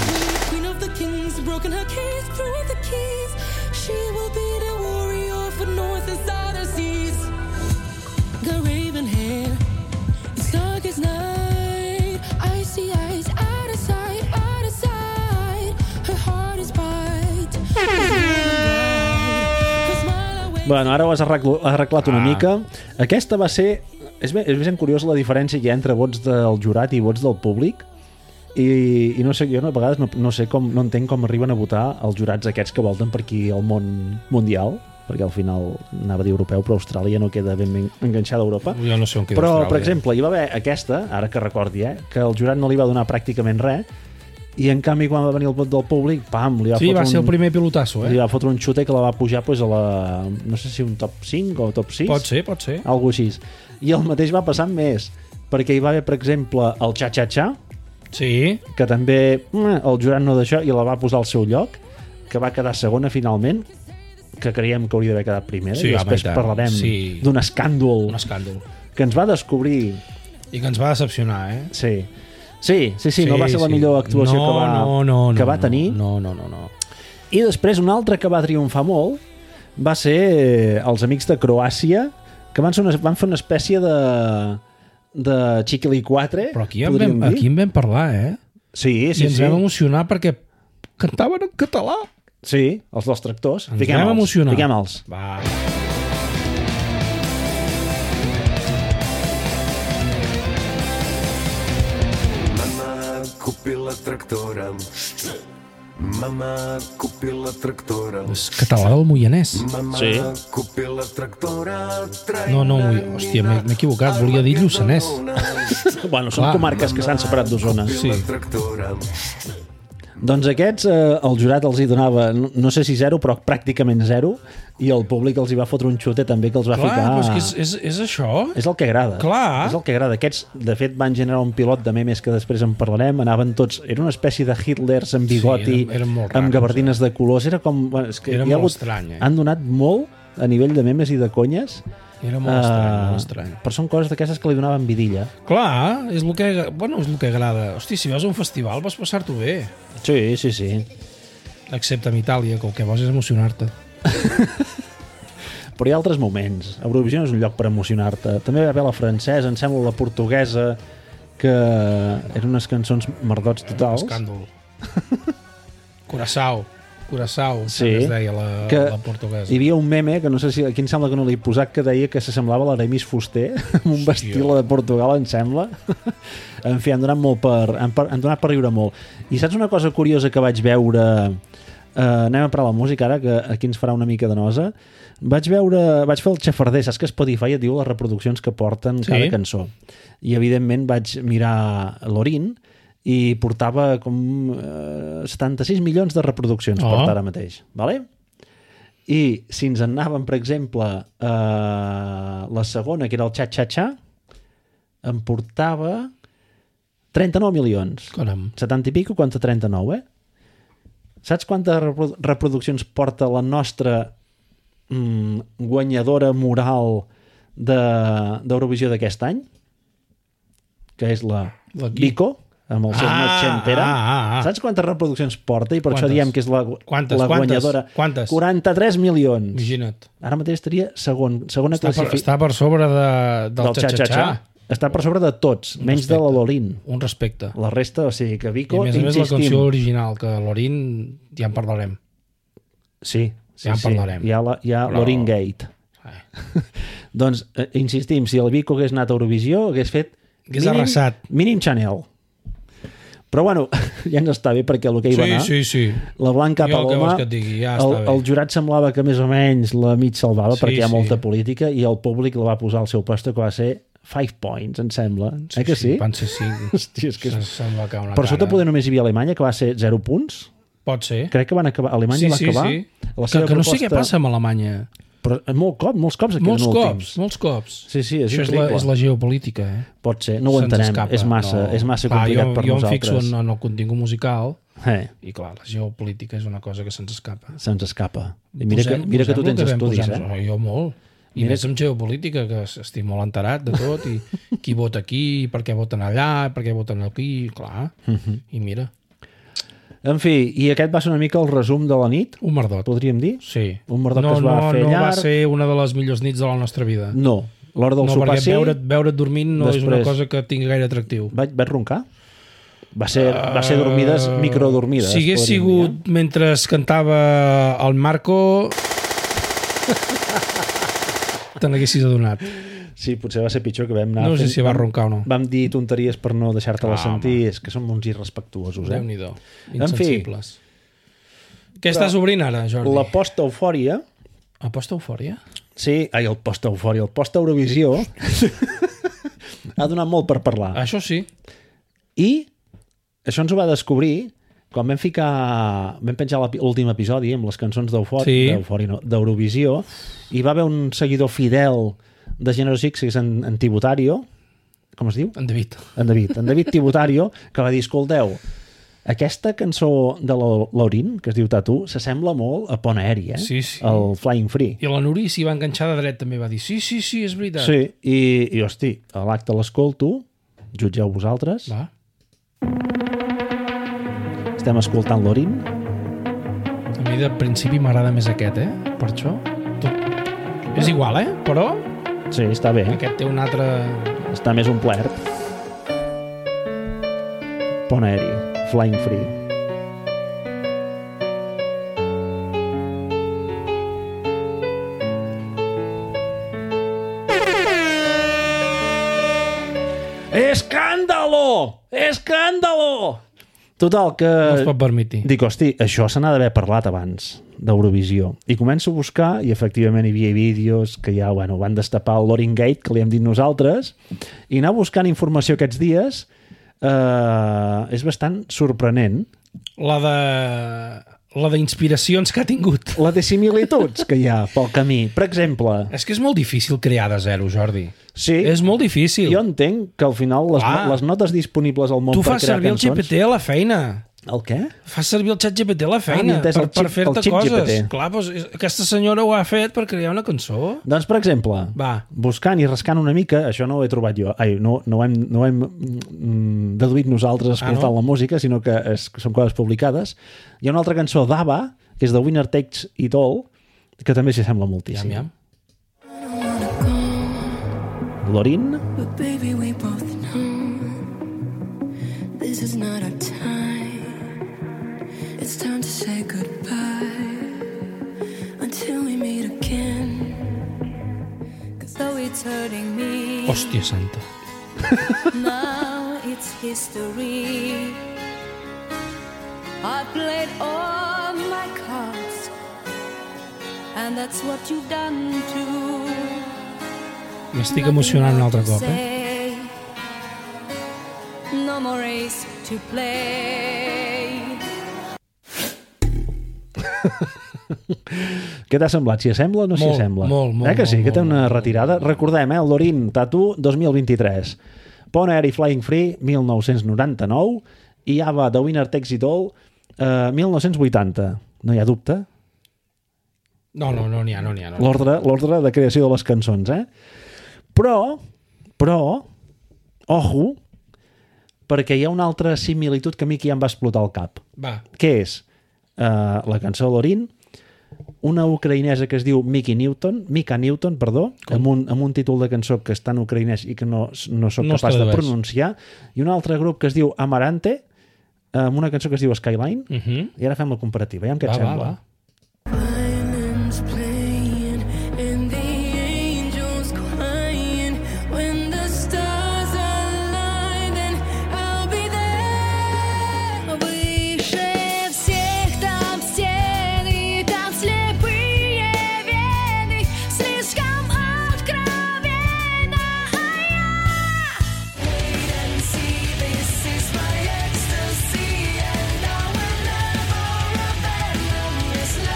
Queen of the kings, broken her case, throwing the keys. She will be the warrior for north and southern seas. Got raven hair, it's dark as night. Icy eyes, out of sight, out of sight. Her heart is bright. Her smile awakens Bueno, ara ho has arreglo- arreglat Ah. una mica. Aquesta va ser- és ben- és ben curiosa la diferència que hi ha entre vots del jurat i vots del públic. I- i no sé, jo no- a vegades no- no sé com- no entenc com arriben a votar els jurats aquests que volten per aquí al món mundial, perquè al final anava a dir europeu, però Austràlia no queda ben ben enganxada a Europa. Jo no sé on queda Però, Austràlia. per exemple, hi va haver aquesta, ara que recordi, eh, que el jurat no li va donar pràcticament res, i en canvi quan va venir el vot del públic, pam, li va Sí, fotre va ser un... el primer pilotasso, Li eh? va fotre un xute que la va pujar pues, a la... no sé si un top 5 o top 6. Pot ser, pot ser. Algo així. I el mateix va passar amb més, perquè hi va haver, per exemple, el xa-xa-xa, Sí, que també mm, el jurat no d'això i la va posar al seu lloc, que va quedar segona finalment, que creiem que hauria d'haver quedat primera, Sí, i home, després i tant. parlarem Sí. d'un escàndol un escàndol. que ens va descobrir I que ens va decepcionar, eh? Sí. Sí, sí, sí, sí no va ser la sí. millor actuació no, que va, no, no, no, que va no, tenir. No, no, no, no. I després un altre que va triomfar molt va ser eh, els amics de Croàcia, que van, ser una, van fer una espècie de de Chiquili 4, Però aquí en, vam, aquí dir. en vam parlar, eh? Sí, Sí, I sí, ens sí. vam emocionar perquè cantaven en català. Sí, els dos tractors. Ens Diguem-los, vam emocionar. Diguem-los. Va. Мама купила трактора. Мама купила трактора. És català del Moianès. Мама Sí. купила трактора. No, no, Moianès. Hòstia, m'he m'he equivocat. Volia dir Lluçanès. Bueno, són Clar. comarques que s'han separat d'Osona. Sí. Трактора. Doncs aquests, eh, el jurat els hi donava, no, no sé si zero, però pràcticament zero, i el públic els hi va fotre un xute també que els va Clar, ficar... però és que és, és, és això. És el que agrada. Clar. És el que agrada. Aquests, de fet, van generar un pilot de memes que després en parlarem. Anaven tots... Era una espècie de Hitlers amb bigoti, eren- eren molt amb raros, gabardines de colors. Era com... Bueno, és que Era hi ha molt hagut- estrany, eh? Han donat molt a nivell de memes i de conyes. Era molt estrany, Eh, molt estrany. Però són coses d'aquestes que li donaven vidilla. Clar, és el que, bueno, és el que agrada. Hòstia, si vas a un festival vas passar-t'ho bé. Sí, sí, sí. Excepte en Itàlia, que el que vols és emocionar-te. Però hi ha altres moments. Eurovisió és un lloc per emocionar-te. També va haver la francesa, em sembla la portuguesa, que eren unes cançons merdots totals. Escàndol. Curaçao. Curaçao, Sí. sí. es deia la, que... la portuguesa. Hi havia un meme, que no sé si aquí em sembla que no l'he posat, que deia que s'assemblava a l'Aremis Fuster, amb un vestil de Portugal, em sembla. en fi, han donat, molt per, han, per, han donat per riure molt. I saps una cosa curiosa que vaig veure... Uh, anem a parlar de música ara, que aquí ens farà una mica de nosa. Vaig veure... Vaig fer el xafarder, saps que Spotify et diu les reproduccions que porten Sí. sí. cada cançó. I, evidentment, vaig mirar l'Orin i portava com eh, 76 milions de reproduccions Oh. oh. porta ara mateix. Vale? I si ens en anàvem, per exemple, a la segona, que era el Xa-Xa-Xa, em portava 39 milions. Caram. 70 i pico contra 39, eh? Saps quantes reprodu- reproduccions porta la nostra mm, guanyadora moral de- d'Eurovisió de, d'aquest any? Que és la, La qui? Vico, amb el seu Ah, ah, entera. ah, ah. Saps quantes reproduccions porta? I per Quantes? això diem que és la, Quantes, la quantes, guanyadora. quantes? 43 milions. Imagina't. Ara mateix estaria segon, segona Està per, classificació està per sobre de, del, del xa-xa-xa. Està per sobre de tots, menys de la Lolin. Un respecte. La resta, o sigui que I a Vico, més a més la insistim. canció original, que l'Orin ja en parlarem. Sí, sí, Ja en sí. parlarem. Hi ha, la, hi ha Però- Lorin Gate. Ai. Doncs, eh, insistim, si el Vico hagués anat a Eurovisió, hagués fet... Hagués arrasat. Mínim Chanel. Però bueno, ja ens està bé perquè el que hi va Sí, anar... sí, sí. La Blanca Jo, què Paloma, vols que et digui? Ja el, està bé. el jurat semblava que més o menys la mig salvava Sí, perquè hi ha sí. molta política i el públic la va posar al seu posto que va ser 5 points, em sembla. Sí, eh que sí? Van ser cinc. Hòstia, és que és- Se- Se'm va caure una Per sota cara. poder només hi havia Alemanya, que va ser 0 punts. Pot ser. Crec que van acabar... Alemanya Sí, va sí, acabar... sí. La Que, seva que no sé què proposta- passa amb Alemanya. Però eh, molt cop, molts cops aquí Molts últims. cops, molts cops. Sí, sí, és Això és la, increïble. és la geopolítica, eh? Pot ser, no ho Se'ns entenem. escapa. És massa, No. és massa Clar, complicat jo, per jo nosaltres. Jo em fixo en, en el contingut musical Eh, i, clar, la geopolítica és una cosa que se'ns escapa. se'ns escapa. I mira, que, mira que tu posem el tens vam estudis, posar, eh? Jo molt. I Mira- mira. més amb geopolítica, que es- estic molt enterat de tot, i qui vota aquí, i per què voten allà, i per què voten aquí, clar. Mhm. I mira, En fi, i aquest va ser una mica el resum de la nit, un merdot. podríem dir? Sí. Un merdot no, que es va no, fer no llarg. va ser una de les millors nits de la nostra vida. No, l'hora del no sopar perquè sí, veure't, veure't dormint no és una Després- cosa que tingui gaire atractiu. vaig, vaig roncar. Va ser, va ser dormides, Eh, microdormides. Si hagués podríem sigut dir, eh? mentre es cantava el Marco... te n'haguessis adonat. eh? Sí, potser va ser pitjor que vam anar... No sé fent- si va vam- roncar o no. Vam dir tonteries per no deixar-te-la Ah, sentir. És que som uns irrespectuosos, eh? Déu-n'hi-do. fi. Insensibles. Què estàs obrint ara, Jordi? La post-eufòria... La posta eufòria? Sí, ai, el post-eufòria, el post-eurovisió ha donat molt per parlar. Això sí. I això ens ho va descobrir quan vam ficar... Vam penjar l'epi- l'últim episodi amb les cançons d'Eufòria, Sí. d'Eufòria no, d'Eurovisió, i va haver un seguidor fidel de Generos X, que és en, en Tibutario, com es diu? En David. En David. En David Tibutario, que va dir, escolteu, aquesta cançó de la- l'Orin, que es diu Tatu, s'assembla molt a Pont Aeri, eh? Sí, sí. El Flying Free. I la Nuri s'hi va enganxar de dret també va dir sí, sí, sí, és veritat. Sí, i, i hosti, a l'acte l'escolto, jutgeu vosaltres, Va. estem escoltant l'Orin, A mi de principi m'agrada més aquest, eh? Per això. Tot... És igual, eh? Però sí, està bé, aquest té un altre... està més omplert. Pont aeri, flying free. Escàndalo! Escàndalo! Total, que... No es pot permetir. Dic, hosti, això se n'ha d'haver parlat abans d'Eurovisió. I començo a buscar i efectivament hi havia vídeos que ja bueno, van destapar el Loring Gate, que li hem dit nosaltres, i anar buscant informació aquests dies eh, és bastant sorprenent La de... La d'inspiracions que ha tingut. la de similituds que hi ha pel camí. Per exemple, És que és molt difícil crear de zero, Jordi. sí, És molt difícil. jo entenc que al final les, Ah. no- les notes disponibles al món Tu per fas crear servir cançons... el GPT a la feina. El què? Fas servir el xat GPT a la m'he feina entès, per, el per xip- fer-te el xip coses. GPT. Clar, doncs, és- aquesta senyora ho ha fet per crear una cançó. Doncs, per exemple, Va. buscant i rascant una mica, això no ho he trobat jo, ai, no, no, ho hem, no ho hem mm, deduït nosaltres escoltant ah, no? no? la música, sinó que és, són coses publicades. Hi ha una altra cançó d'Ava, que és The Winner Takes It All, que també s'hi sembla Iam, moltíssim. iam. Lorin, But baby, we both know this is not our time. It's time to say goodbye until we meet again. Cause though it's hurting me, Hòstia santa. now it's history. I played all my cards, and that's what you've done too. M'estic emocionant un altre cop, eh? No more race to play. Què t'ha semblat? S'hi assembla o no s'hi Molt, assembla? molt, molt, Eh que sí, molt, que té molt, una retirada. Recordem, eh? El Lorin Tatu 2023. Bon Air i Flying Free 1999 i Ava The Winner Takes It All eh, 1980. No hi ha dubte. No, no, no n'hi ha, no n'hi ha. No. L'ordre l'ordre de creació de les cançons, eh? Però, però, ojo, perquè hi ha una altra similitud que a mi aquí ja em va explotar el cap Va, que és eh, la cançó Lorin, una ucraïnesa que es diu Miki Newton, Mika Newton, perdó, amb un, amb un títol de cançó que està en ucraïnès i que no, no soc No es capaç de tradueix. pronunciar, i un altre grup que es diu Amarante, amb una cançó que es diu Skyline, Mhm. i ara fem la comparativa, veiem què va, et va, sembla. va. Violins playing and the angels crying. When the stars align, then I'll be there. Выше всех там стены, там слепые вены. Слишком откровенно, а я Wait and see, this is my ecstasy, and I will never abandon this life.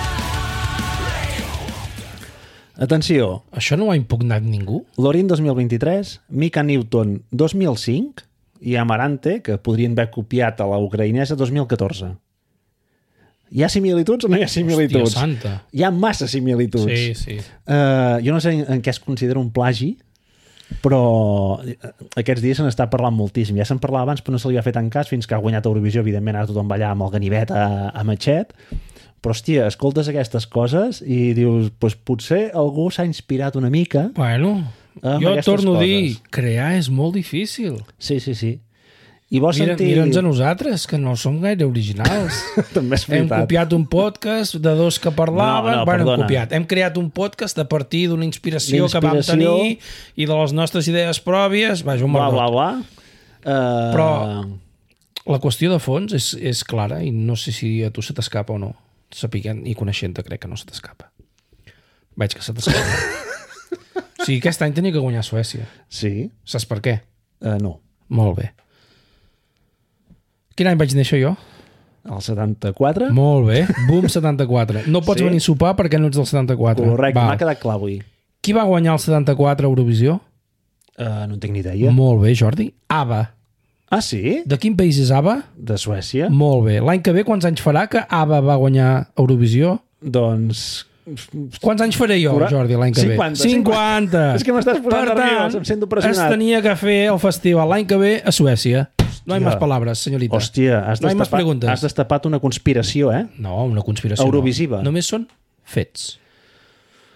Atenció, Això no ho ha impugnat ningú? Lorin 2023, Mika Newton 2005 i Amarante, que podrien haver copiat a la ucraïnesa 2014. Hi ha similituds o no hi ha Hòstia similituds? santa. Hi ha massa similituds. Sí, sí. Eh, jo no sé en, en què es considera un plagi, però eh, aquests dies se n'està parlant moltíssim. Ja se'n parlava abans, però no se li ha fet en cas fins que ha guanyat Eurovisió. Evidentment, ara tothom va allà amb el ganivet a, a Matxet. Però, hòstia, escoltes aquestes coses i dius, doncs potser algú s'ha inspirat una mica. Bueno, Ah, Amb jo aquestes torno a dir, coses. crear és molt difícil. Sí, sí, sí. I vols Mira, sentir... Mira'ns a nosaltres, que no som gaire originals. També és hem veritat. copiat un podcast de dos que No, parlaven. no, bueno, hem, perdona. copiat. hem creat un podcast a partir d'una inspiració, que vam D'inspiració. tenir i de les nostres idees pròpies. Vaja, un Bla, bla, merdot. bla. Uh, Però- La qüestió de fons és, és clara i no sé si a tu se t'escapa o no. Sapiguent i coneixent-te crec que no se t'escapa. Veig que se t'escapa. o sigui, aquest any tenia que guanyar Suècia. Sí, Saps per què? uh, no. Molt bé. Quin any vaig néixer jo? Eh? El 74? Molt bé. Boom 74. No pots Sí? sí? venir a sopar perquè no ets del 74. Correcte, Val. m'ha quedat clar avui. Qui va guanyar el 74 a Eurovisió? Uh, no en tinc ni Yeah. idea. Molt bé, Jordi. ABBA. Ah, sí? De quin país és ABBA? De Suècia? Molt bé. L'any que ve, quants anys farà que ABBA va guanyar Eurovisió? Doncs... Quants anys faré jo, Cura- Jordi, l'any que 50, ve? 50. 50. És que m'estàs posant per nerviós, tant, em sento pressionat. Es tenia que fer el festival l'any que ve a Suècia. No hi ha més paraules, senyorita. Hòstia, has, no hi ha més destapat, preguntes. has destapat una conspiració, eh? No, una conspiració. Eurovisiva. No. Només són fets.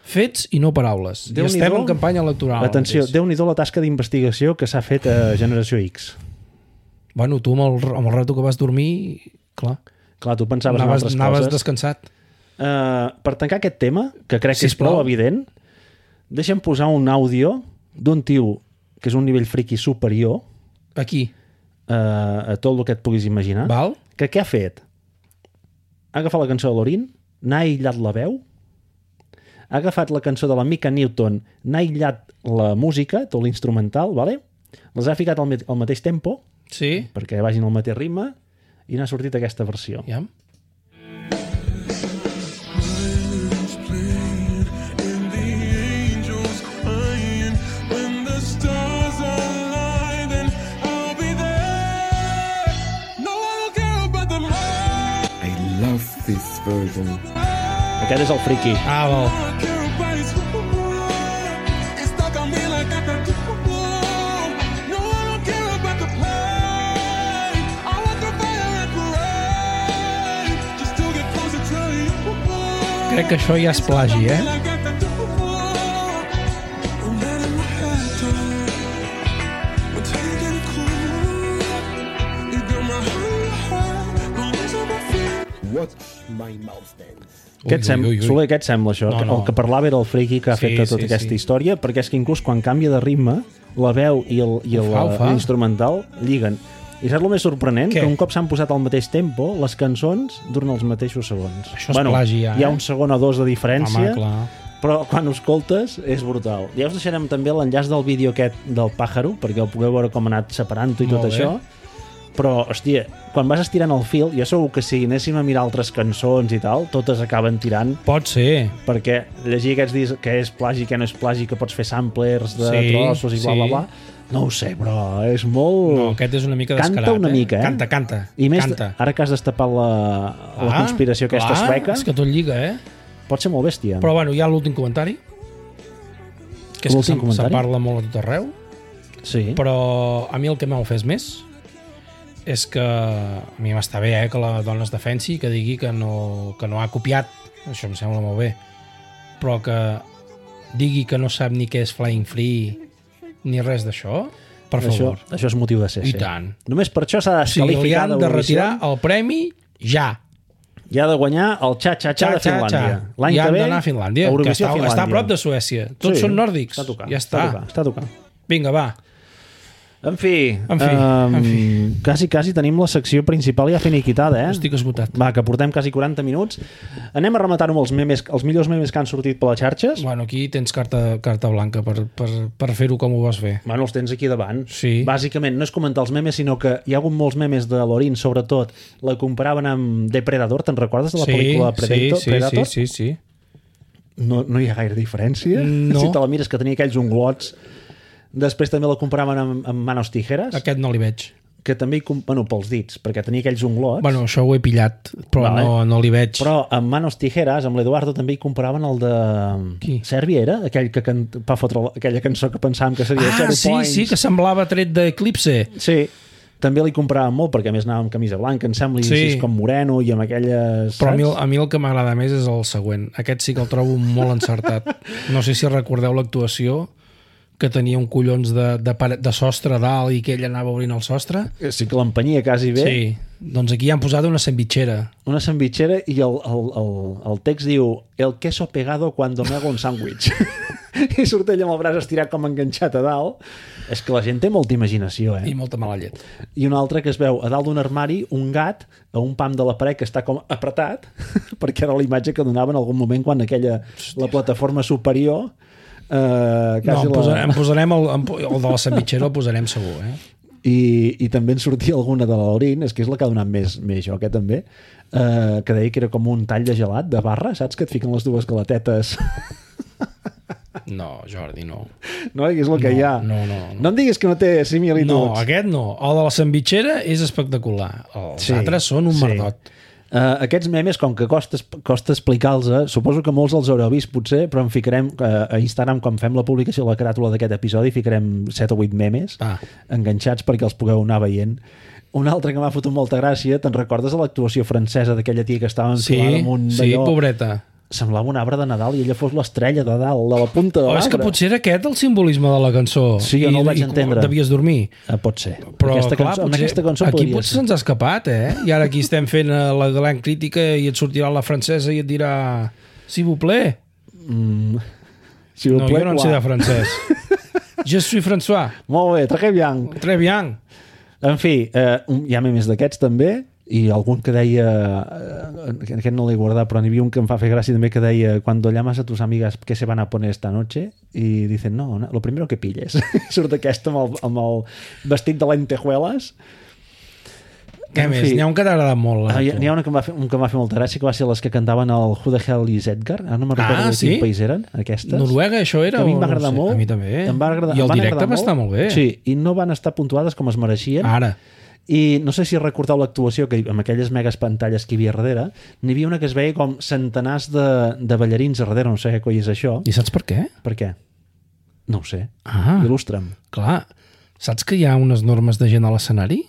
Fets i no paraules. Déu I estem n'hi do. en campanya electoral. Atenció, ara mateix. Déu-n'hi-do la tasca d'investigació que s'ha fet a Generació X. Bueno, tu amb el, amb el rato que vas dormir, clar, Clar, tu pensaves anaves, en anaves altres coses. descansat. Eh, per tancar aquest tema, que crec que és Sisplau. prou evident, deixa'm posar un àudio d'un tio que és un nivell friqui superior Aquí, eh, a tot el que et puguis imaginar. val? que què ha fet? Ha agafat la cançó de Lorin, n'ha aïllat la veu, ha agafat la cançó de la Mika Newton, n'ha aïllat la música, tot l'instrumental, vale? les ha ficat al, met- al mateix tempo, Sí? perquè vagin al mateix ritme, i n'ha sortit aquesta versió. Aviam. I love this version. Aquest és el friki. Ah, val. Crec que això ja és plagi, eh? Què et sembla? Soler, què et sembla això? No, No, no. no. El que parlava era el friki que ha Sí, fet a tota sí, aquesta sí. història, perquè és que inclús quan canvia de ritme, la veu i el- i Ho fa, ho el- fa. l'instrumental lliguen. I saps el més sorprenent? Què? Que un cop s'han posat al mateix tempo, les cançons duren els mateixos segons. Això és plagi, ja, Hi ha eh? un segon o dos de diferència, Home, clar. però quan ho escoltes és brutal. Ja us deixarem també l'enllaç del vídeo aquest del pàjaro, perquè el pugueu veure com ha anat separant-ho i Molt tot bé. això. però, hòstia, quan vas estirant el fil, jo segur que si anéssim a mirar altres cançons i tal, totes acaben tirant Pot ser. perquè llegir aquests discs que és plagi, que no és plagi, que pots fer samplers de Sí, trossos i bla, sí. bla, bla, no ho sé, però és molt... No, aquest és una mica Canta descarat. una eh? mica, eh? Canta, canta. I més, canta. ara que has destapat la, la Clar, conspiració aquesta clar, sueca, És que tot lliga, eh? pot ser molt bèstia. Però bueno, hi ha l'últim comentari. Que és que L'últim se'n se comentari? parla molt a tot arreu. sí. Però a mi el que m'ha ofès més és que a mi m'està bé eh, que la dona es defensi i que digui que no, que no ha copiat. Això em sembla molt bé. Però que digui que no sap ni què és Flying Free ni res d'això, per això, favor. això és motiu de ser, I sí. tant. Només per això s'ha O sigui, li descalificat han de retirar el premi ja. I ha de guanyar el xa-xa-xa de Finlàndia. L'any que ve, a a Finlàndia, que Eurovisió està, a Finlàndia. està a prop de Suècia. Tots Sí, són nòrdics. Està tocant, ja està. Està tocant, està tocant. Vinga, va. En fi, En fi, em, en quasi, quasi tenim la secció principal ja finiquitada, eh? Estic esgotat. Va, que portem quasi 40 minuts. Anem a rematar-ho amb els, memes, els millors memes que han sortit per les xarxes. Bueno, aquí tens carta, carta blanca per, per, per fer-ho com ho vas fer. Bueno, els tens aquí davant. Sí. Bàsicament, no és comentar els memes, sinó que hi ha hagut molts memes de Lorin, sobretot. La comparaven amb Depredador, te'n recordes de la pel·lícula Predator? sí, sí, Predator? sí, sí. no, no hi ha gaire diferència. No. Si te la mires, que tenia aquells unglots. Després també la comparaven amb, amb Manos Tijeras, Aquest no li veig. que també, hi com- bueno, pels dits, perquè tenia aquells unglots. Bueno, això ho he pillat, però Vale. no, no li veig. Però amb Manos Tijeras, amb l'Eduardo, també hi comparaven el de... Qui? Sèrbia era? Aquell que can... va fotre la- aquella cançó que pensàvem que seria ah, Zero sí, Points. sí, que semblava tret d'Eclipse. Sí, també li compraven molt, perquè a més anava amb camisa blanca, em sembla, i Sí. així com moreno, i amb aquelles... Però a mi, saps? a mi el que m'agrada més és el següent. Aquest sí que el trobo molt encertat. No sé si recordeu l'actuació que tenia un collons de, de, pare- de sostre a dalt i que ell anava obrint el sostre. Sí que l'empenyia quasi bé. Sí. Doncs aquí hi han posat una sandwichera. una sandwichera i el, el, el, el text diu el queso pegado cuando me hago un sándwich i surt ell amb el braç estirat com enganxat a dalt és que la gent té molta imaginació eh? I molta mala llet. i un altre que es veu a dalt d'un armari un gat a un pam de la paret que està com apretat perquè era la imatge que donava en algun moment quan aquella la plataforma superior eh, No, quasi en, la... posarem, en posarem el, en, po- el de la sandwichera el posarem segur, eh? I, i també en sortia alguna de la Laurín, és que és la que ha donat més, més joc, eh, també, eh, que deia que era com un tall de gelat, de barra, saps? Que et fiquen les dues galatetes, No, Jordi, no. no? I és el que No, hi ha. no, no, no. no em diguis que no té No, similituds. aquest no. El de la sandwichera és espectacular. Oh, Els sí, altres són un sí. merdot. Uh, aquests memes, com que costa, costa explicar-los, eh, suposo que molts els haureu vist potser, però en ficarem eh, a Instagram quan fem la publicació de la caràtula d'aquest episodi ficarem 7 o 8 memes Ah. enganxats perquè els pugueu anar veient un altre que m'ha fotut molta gràcia te'n recordes de l'actuació francesa d'aquella tia que estava Sí, enfilada amb un sí, d'allò? pobreta. semblava un arbre de Nadal i ella fos l'estrella de dalt, de la punta de Oh, l'arbre. és que potser era aquest el simbolisme de la cançó. Sí, jo no el vaig i, entendre. Devies dormir. Eh, pot ser. Però, aquesta clar, cançó, amb potser, aquesta cançó aquí podria potser ser. se'ns ha escapat, eh? I ara aquí estem fent eh, la gran crítica i et sortirà la francesa i et dirà... Si vous plaît. Si No, jo no en sé de de... francès. Je suis François. Molt bé, traguem blanc. Très bien. En fi, eh, un- hi ha més d'aquests també, i algun que deia eh, aquest no l'he guardat però n'hi havia un que em fa fer gràcia també que deia cuando llamas a tus amigas que se van a poner esta noche i dicen no, no lo primero que pilles surt aquesta amb el, amb el vestit de lentejuelas Què En més? fi. N'hi ha un que t'ha agradat molt. Ah, a hi, tu. n'hi ha una que em va fer, un que em va fer molta gràcia que va ser les que cantaven el Who the Hell is Edgar ara no me'n Ah, recordo de sí? quin país eren aquestes Noruega, això que era? a mi o em va no ho agradar sé? molt A mi també. em va agradar, I em el van directe agradar va estar molt bé. sí, i no van estar puntuades com es mereixien Ara. i no sé si recordeu l'actuació que hi- amb aquelles megas pantalles que hi havia darrere n'hi havia una que es veia com centenars de, de ballarins a darrere, no sé què coi és això I saps per què? per què? no ho sé, Ah, il·lustra'm clar. Saps que hi ha unes normes de gent a l'escenari?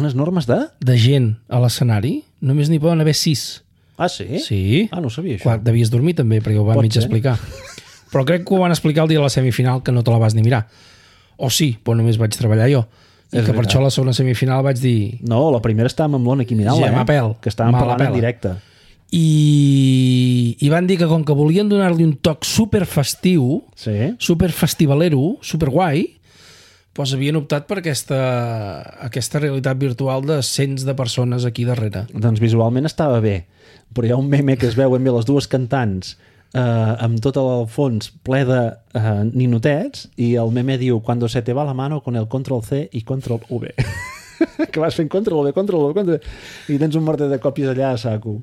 unes normes de... De gent a l'escenari? Només n'hi poden haver sis. ah sí? Sí. ah no ho sabia això Clar, devies dormir també, perquè ho van Pot mig ser. explicar. Però crec que ho van explicar el dia de la semifinal, que no te la vas ni mirar. O sí, però només vaig treballar jo. I És que per veritat. això a la segona semifinal vaig dir... no, la primera estàvem amb l'Ona Quimidala Gemma eh? Pèl. que estàvem Me la parlant en pela. directe I, I van dir que com que volien donar-li un toc super festiu, sí? super festivalero, super guai, doncs havien optat per aquesta, aquesta realitat virtual de cents de persones aquí darrere. Doncs visualment estava bé, però hi ha un meme que es veuen bé les dues cantants eh, amb tot el fons ple de eh, ninotets i el meme diu «Cuando se te va la mano con el control C i control V». que vas fent contra el B, contra el B, contra i tens un morter de còpies allà a saco.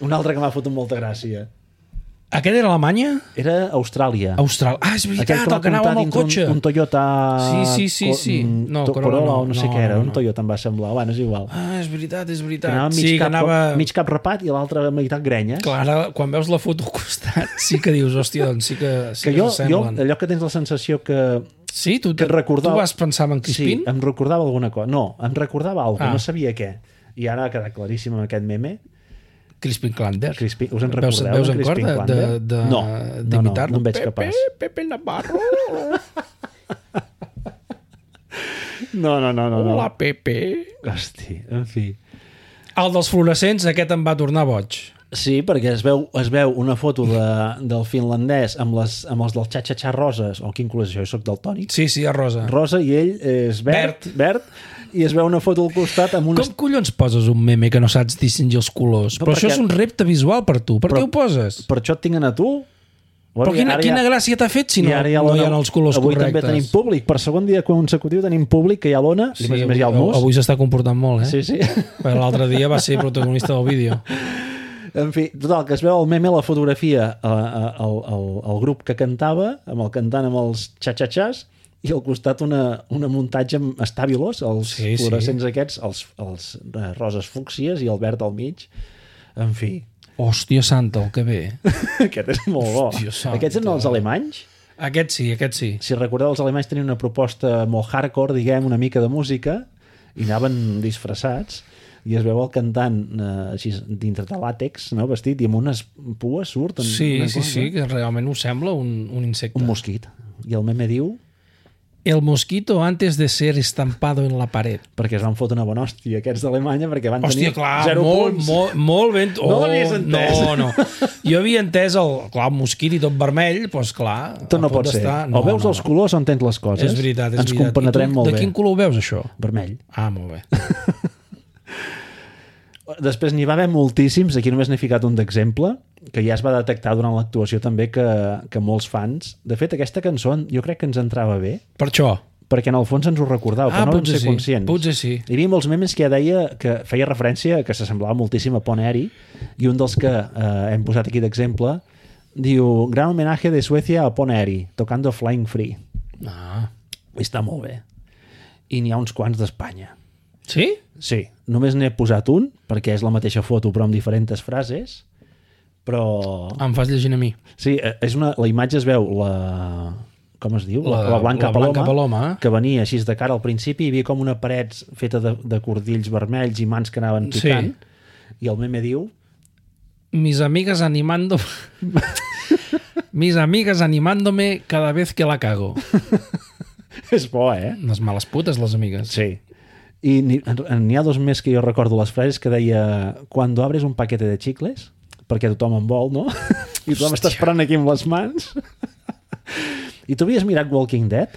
Un altre que m'ha fotut molta gràcia. Aquest era Alemanya? Era Austràlia. Austral. Ah, és veritat, va el que comptar anava amb el dins cotxe. Un, un Toyota... Sí, sí, sí, Co- sí. mm, No, to- Corolla Corolla, no. o no sé No, què era, no, un no. Toyota em va semblar. Bueno, és igual. Ah, és veritat, és Que veritat. anava mig, sí, cap, que anava... mig cap rapat i l'altre meitat grenya. Clar, ara, quan veus la foto al costat, sí que dius, hòstia, doncs sí que, sí que que, jo, jo, s'assemblen. allò que tens la sensació que... Sí, tu, que et recordava... tu vas pensar en Crispin? Sí, em recordava alguna cosa. No, em recordava alguna Ah. cosa, no sabia què. I ara ha quedat claríssim amb aquest meme. Crispin Klander. Crispin, us en Veus, recordeu? veus de en cor Crispin de, de, Klander? de, no, no, no, d'imitar-lo? no en veig capaç. Pepe Navarro. No, no, no, no. no. Pepe. Hosti, en fi. El dels fluorescents, aquest em va tornar boig. Sí, perquè es veu, es veu una foto de, del finlandès amb, les, amb els del xatxatxà roses, o quin color és això? Jo soc del tònic. Sí, sí, a Rosa. Rosa i ell és verd, Verd. verd, i es veu una foto al costat amb un... Com collons poses un meme que no saps distingir els colors? No, Però, això perquè- és un repte visual per tu. Per Però- què ho poses? Per això et tinguen a tu? Però Bueno, i quina, ara quina gràcia t'ha fet si no, i ara no hi l'Ona- ha els colors avui correctes? també tenim públic. Per segon dia consecutiu tenim públic, que hi ha l'Ona, sí, més, més hi ha el avui, Mus. avui s'està comportant molt, eh? Sí, sí. Perquè L'altre dia va ser protagonista del vídeo. En fi, total, que es veu el meme, la fotografia, eh, eh, el, el, el grup que cantava, amb el cantant amb els xatxatxàs, i al costat una, una muntatge amb estabilos, els Sí, sí, sí. fluorescents aquests, els, els eh, roses fúcsies i el verd al mig. En fi, Hòstia santa, el que bé. aquest és molt bo. Hòstia santa. Aquests eren els alemanys? Aquest sí, aquest sí. Si recordeu, els alemanys tenien una proposta molt hardcore, diguem, una mica de música, i anaven disfressats, i es veu el cantant eh, així dintre de làtex, no, vestit, i amb unes pues surt. en- Sí, una sí, cosa. sí, que realment ho sembla un, un insecte. Doncs Un mosquit. I el meme diu El mosquito antes de ser estampado en la pared. perquè es van fotre una bona hòstia aquests d'Alemanya perquè van Hòstia, tenir clar, zero molt, punts. molt, molt ben... Oh, No l'havies entès. No, no. Jo havia entès el, clar, el mosquit i tot vermell, doncs clar... Tot no a punt pot ser. d'estar- o veus els colors o entens les coses. És veritat, és Ens veritat. compenetrem I tu, molt de bé. quin color ho veus, això? Vermell. Ah, molt bé. Després n'hi va haver moltíssims, aquí només n'he ficat un d'exemple, que ja es va detectar durant l'actuació també que, que molts fans... De fet, aquesta cançó jo crec que ens entrava bé, Per això. perquè en el fons ens ho recordava, Ah, però no vam potser ser sí, conscients. potser sí. Hi havia molts memes que ja deia que feia referència que s'assemblava moltíssim a Pon Eri, i un dels que eh, hem posat aquí d'exemple diu Gran homenatge de Suècia a Pon Eri, tocando Flying Free. Ah. I està molt bé. I n'hi ha uns quants d'Espanya. Sí? Sí, només n'he posat un, perquè és la mateixa foto però amb diferents frases, però... Ah, em fas llegint a mi. Sí, eh, és una, la imatge es veu la... com es diu? La, La- la, Blanca, la Paloma, Blanca Paloma, eh? que venia així de cara al principi, hi havia com una paret feta de, de cordills vermells i mans que anaven Sí. picant, sí. i el meme diu... Mis amigas animando... Mis amigas animándome cada vez que la cago. És bo, eh? Les males putes, les amigues. Sí. I n'hi n'hi ha dos més que jo recordo les frases que deia «Cuando abres un paquete de xicles», perquè tothom en vol, no? I tothom està esperant aquí amb les mans. I tu havies mirat Walking Dead?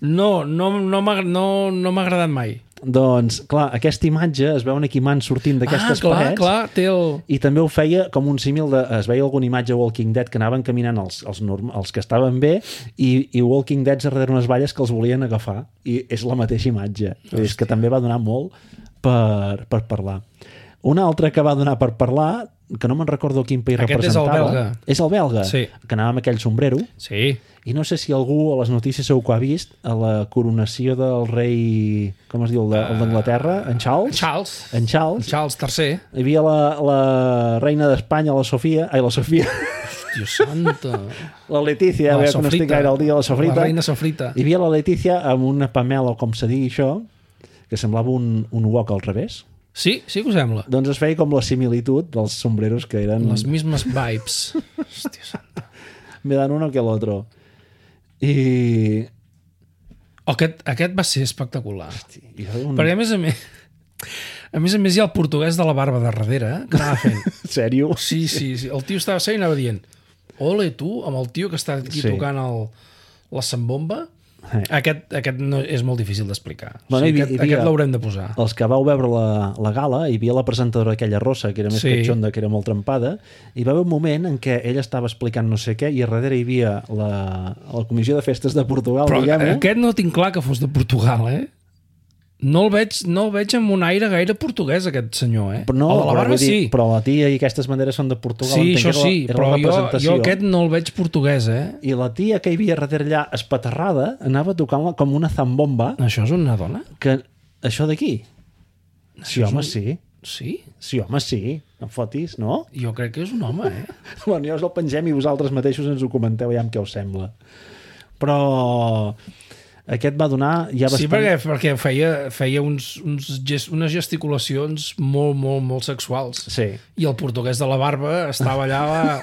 No, no, no m'ha no, no m'ha agradat mai. Doncs, clar, aquesta imatge es veuen aquí mans sortint d'aquestes ah, clar, parets. clar, té el... i també ho feia com un símil de... Es veia alguna imatge a Walking Dead que anaven caminant els, els, norm, els que estaven bé i, i Walking Dead darrere unes valles que els volien agafar i és la mateixa imatge. Hòstia. És que també va donar molt per, per parlar. Una altra que va donar per parlar, que no me'n recordo quin país Aquest és el representava... belga. És el belga, Sí. que anava amb aquell sombrero. Sí. I no sé si algú a les notícies segur que ho ha vist, a la coronació del rei... Com es diu? El de- el d'Anglaterra? En Charles? Charles. En Charles. Charles III. Hi havia la, la reina d'Espanya, la Sofia... Ai, la Sofia. Dios santa. La Letícia, La la que no estic sofrita. gaire al dia, la Sofrita. La reina sofrita. Hi havia la Letícia amb una pamela, o com se digui això, que semblava un, un wok al revés. Sí, sí que ho sembla. Doncs es feia com la similitud dels sombreros que eren... Les mismes vibes. Hòstia santa. Me dan uno que l'altre. I... Oh, aquest, aquest va ser espectacular. i era un... Perquè a més a més... A més a més hi ha el portuguès de la barba de darrere, eh, que anava fent... Sèrio? Sí, sí, sí. El tio estava sent i anava dient ole, tu, amb el tio que està aquí Sí. sí. tocant el, la sambomba, Eh. aquest, aquest no, és molt difícil d'explicar. Bueno, Bueno, o hi sigui, havia- aquest, hi havia- aquest l'haurem de posar. els que vau veure la, la gala, hi havia la presentadora aquella rossa, que era més Sí. sí. catxonda, que era molt trempada, i va haver un moment en què ella estava explicant no sé què i a darrere hi havia la, la Comissió de Festes de Portugal, Però diguem-ho. aquest no tinc clar que fos de Portugal, eh? No el veig, no el veig amb un aire gaire portuguès, aquest senyor, eh? Però no, el de la barba però, vull sí. dir, però la tia i aquestes banderes són de Portugal. entenc sí, que era això la- sí, era però la jo, jo representació. aquest no el veig portuguès, eh? I la tia que hi havia darrere allà, espaterrada, anava tocant com una zambomba, Això és una dona? que... Això d'aquí? Sí, home, sí. Sí? Sí, home, sí. No em fotis, no? Jo crec que és un home, eh? Bueno, ja us el pengem i vosaltres mateixos ens ho comenteu ja amb què us sembla. Però aquest va donar ja bastant... Sí, perquè, perquè feia, feia uns, uns gest, unes gesticulacions molt, molt, molt sexuals. Sí. I el portuguès de la barba estava allà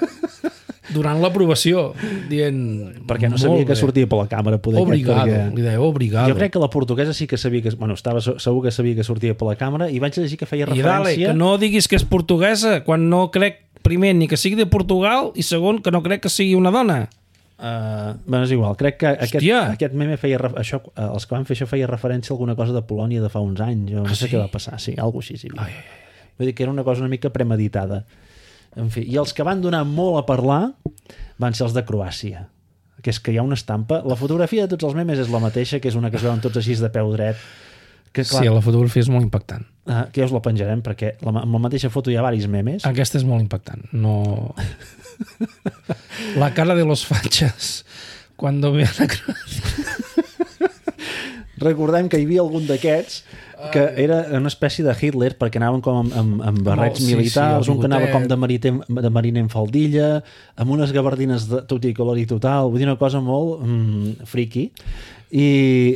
donant l'aprovació, dient... Perquè no "Molt sabia que bé". sortia per la càmera. Poder aquest, Obrigado, perquè... li deia obrigado. Jo crec que la portuguesa sí que sabia que... Bueno, estava se- segur que sabia que sortia per la càmera i vaig llegir que feia I dale, referència... que no diguis que és portuguesa quan no crec, primer, ni que sigui de Portugal i segon, que no crec que sigui una dona. Uh, bueno, és igual. Crec que aquest, Hòstia! aquest meme feia... ref- Això, eh, els que van fer això feia referència a alguna cosa de Polònia de fa uns anys. o No sé sí? què va passar. Sí, alguna cosa així. Ai, ai, ai. Vull dir que era una cosa una mica premeditada. En fi, i els que van donar molt a parlar van ser els de Croàcia que és que hi ha una estampa... La fotografia de tots els memes és la mateixa, que és una que es veuen tots així de peu dret. Que, clar, Sí, la fotografia és molt impactant. Ah, que ja us la penjarem perquè la, ma- amb la mateixa foto hi ha varis memes Aquesta és molt impactant. No... La cara de los fachas cuando vean a Croàcia. recordem que hi havia algun d'aquests que Ah, era una espècie de Hitler perquè anaven com amb, amb, amb barrets Oh, sí, sí, sí, militars, el un que anava bigotet. com de, mariter, de mariner en faldilla amb unes gabardines de tot i color i total vull dir una cosa molt mm, friki i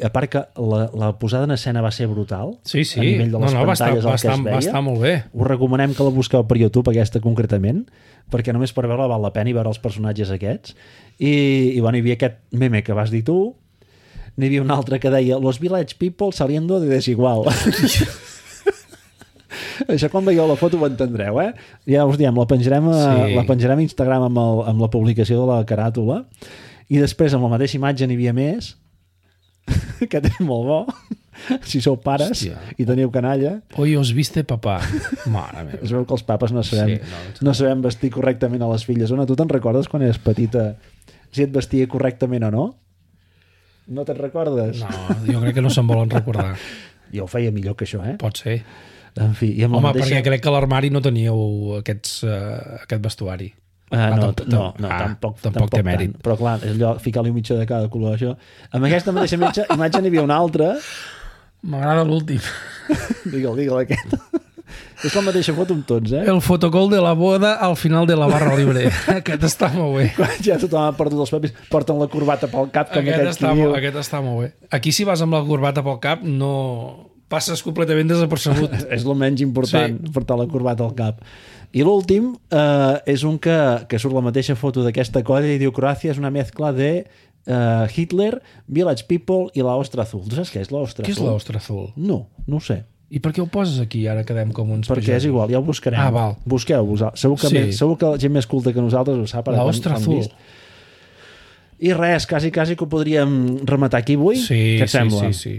a part que la, la posada en escena va ser brutal Sí, sí. a nivell de No, les no, va estar- pantalles va el que estar- es va veia estar molt bé. us recomanem que la busqueu per YouTube aquesta concretament perquè només per veure-la val la pena i veure els personatges aquests i, i bueno, hi havia aquest meme que vas dir tu n'hi havia un altre que deia los village people saliendo de desigual això quan veieu la foto ho entendreu eh? ja us diem, la penjarem a, Sí. sí. la penjarem a Instagram amb, el, amb la publicació de la caràtula i després amb la mateixa imatge n'hi havia més que és molt bo si sou pares Hòstia. i teniu canalla Hoy os viste papá. Mare meva. es veu que els papes no sabem, Sí, no, no, no sabem vestir correctament a les filles. Ona, tu te'n recordes quan eres petita si et vestia correctament o no? No te'n recordes? No, jo crec que no se'n volen recordar. Jo ho feia millor que això, eh? Pot ser. En fi, i amb Home, la mateixa... perquè crec que a l'armari no teníeu aquests, uh, aquest vestuari. Ah, no, tamp- no, no, ah, tampoc, tampoc, té mèrit. Tant. Però clar, és allò, ficar-li un mitjà de cada color, això. Amb aquesta mateixa mitja, imatge n'hi havia una altra, M'agrada l'últim. digue'l, digue'l aquest. és la mateixa foto amb tots, eh? El fotocol de la boda al final de la barra libre. aquest està molt bé. Ja tothom ha perdut els papis, porten la corbata pel cap, com Aquest aquest, està, que diu. molt, aquest està molt bé. Aquí si vas amb la corbata pel cap no passes completament desapercebut. és el menys important, sí. portar la corbata al cap. I l'últim eh, és un que, que surt la mateixa foto d'aquesta colla i diu Croàcia és una mescla de eh, Hitler, Village People i la ostra azul. Tu saps què és la ostra Què és azul? l'ostre azul? No, no ho sé. I per què ho poses aquí? Ara quedem com uns Perquè és igual, ja ho buscarem. Ah, val. Busqueu, vos- segur que, Sí. sí. més, segur que la gent més culta que nosaltres ho sap. ara La que han- ostra han azul. vist. I res, quasi, quasi que ho podríem rematar aquí avui. Sí, Què et sí, sembla? sí, sí.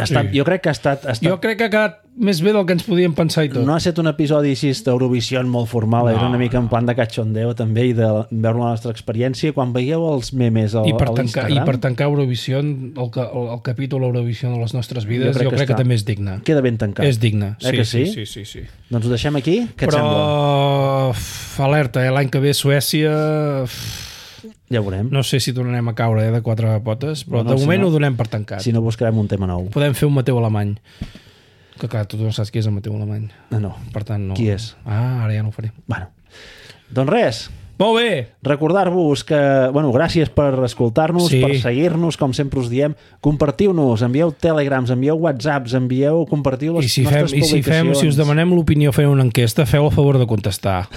Ha estat, Sí. Jo crec que ha estat, ha estat Jo crec que ha quedat més bé del que ens podíem pensar i tot. No ha estat un episodi així d'Eurovisió molt formal, no, era una mica en plan de cachondeo també i de veure la nostra experiència. Quan veieu els memes al, I per, a tancar, l'Instagram, I per tancar Eurovisió, el, ca- el, el capítol Eurovisió de les nostres vides, jo crec, jo crec que, està- també és digne. queda ben tancat. És digne. Eh que sí? Sí, sí, sí. sí. Doncs ho deixem aquí? Què et Però, sembla? uf, alerta, eh? l'any que ve Suècia... uf, Ja ho veurem. No sé si tornarem a caure eh, de quatre potes, però Bueno, de si moment no- ho donem per tancat. Si no buscarem un tema nou. Podem fer un Mateu Alemany. Que clar, tu no saps qui és el Mateu Alemany. No, Ah, no. Per tant, no. Qui és? Ah, ara ja no ho faré. Bueno. Doncs res, Molt bé! recordar-vos que, bueno, gràcies per escoltar-nos, Sí. sí. per seguir-nos, com sempre us diem, compartiu-nos, envieu telegrams, envieu whatsapps, envieu, compartiu les I si, fem, nostres I si fem, si us demanem l'opinió fent una enquesta, feu el favor de contestar.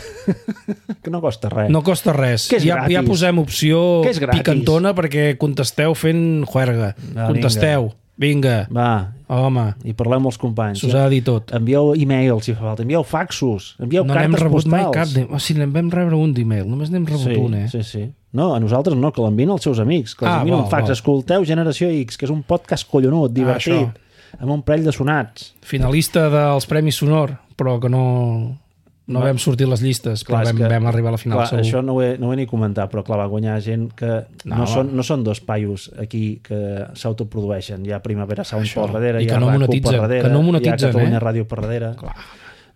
Que no costa res. No costa res. Eh. Que és ja, ja gratis. posem opció Que és gratis. Ah, picantona perquè contesteu fent juerga. Va, contesteu. Vinga. Va, Home, i parleu amb els companys. eh? s'us ha de dir tot. envieu e-mails si fa falta, envieu faxos, envieu No n'hem cartes rebut mai postals. cap. De... O sigui, n'en vam rebre un d'email. Només n'hem rebut Sí, un, eh? sí, sí. No, a nosaltres no, que l'envien als seus amics, que els Ah, ah, envien val, un fax. val. Escolteu Generació X, que és un podcast collonut, divertit, això. amb un parell de sonats. Finalista dels Premis Sonor, però que no... No vam sortir les llistes, però és vam, que- vam arribar a la final, clar, segur. Això no ho, he, no ho he ni comentat, però clar, va guanyar gent que no, No. no, són, no són dos paios aquí que s'autoprodueixen. Hi ha Primavera Sound Això. per darrere, I hi que ha no RAC1 monetitzen, per darrere, que no hi ha monetitzen, Catalunya eh? Ràdio per darrere. Clar.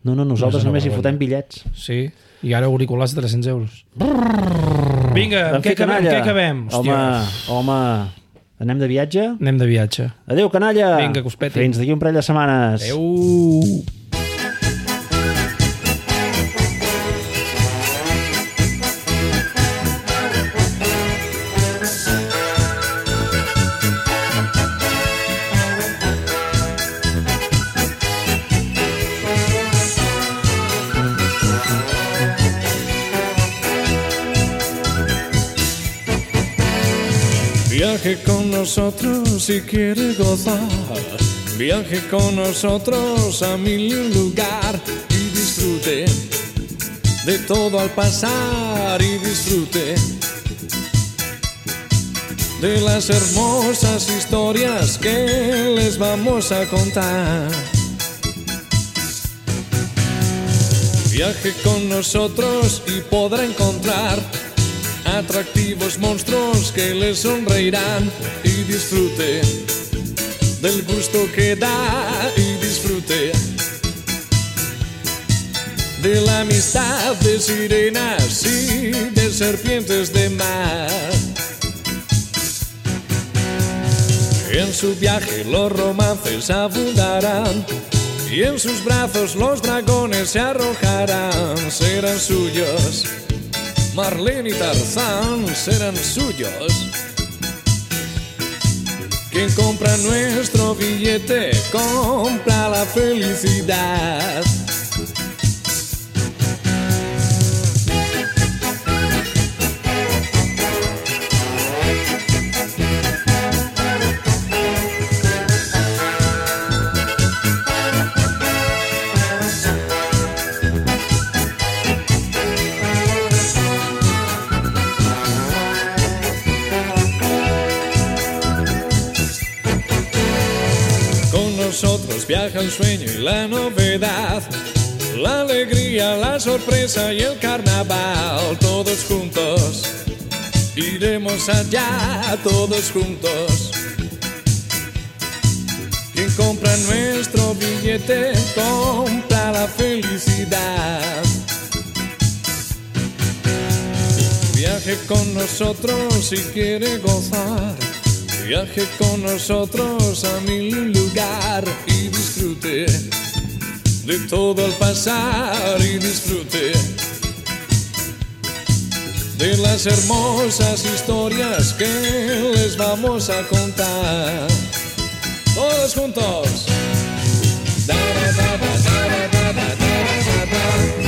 No, no, nosaltres No és una només hi vergonya. fotem bitllets. Sí, i ara auriculars de 300 euros. Vinga, Vam amb què, fer acabem, amb canalla. què acabem? Doncs Home, home, anem de viatge? Anem de viatge. Adéu, canalla! Vinga, que us peti. Fins d'aquí un parell de setmanes. Adéu. Adéu. Viaje con nosotros si quiere gozar. Viaje con nosotros a mil y un lugar y disfrute de todo al pasar y disfrute de las hermosas historias que les vamos a contar. Viaje con nosotros y podrá encontrar atractivos monstruos que le sonreirán y disfrute del gusto que da y disfrute de la amistad de sirenas y de serpientes de mar. En su viaje los romances abundarán y en sus brazos los dragones se arrojarán, serán suyos. Marlene y Tarzán serán suyos. Quien compra nuestro billete compra la felicidad. Con nosotros viaja el sueño y la novedad, la alegría, la sorpresa y el carnaval. Todos juntos iremos allá, todos juntos. Quien compra nuestro billete compra la felicidad. Viaje con nosotros si quiere gozar. Viaje con nosotros a mil y un lugar y disfrute de todo al pasar y disfrute de las hermosas historias que les vamos a contar. Todos juntos. Da, da, da, da, da, da, da, da, da, da.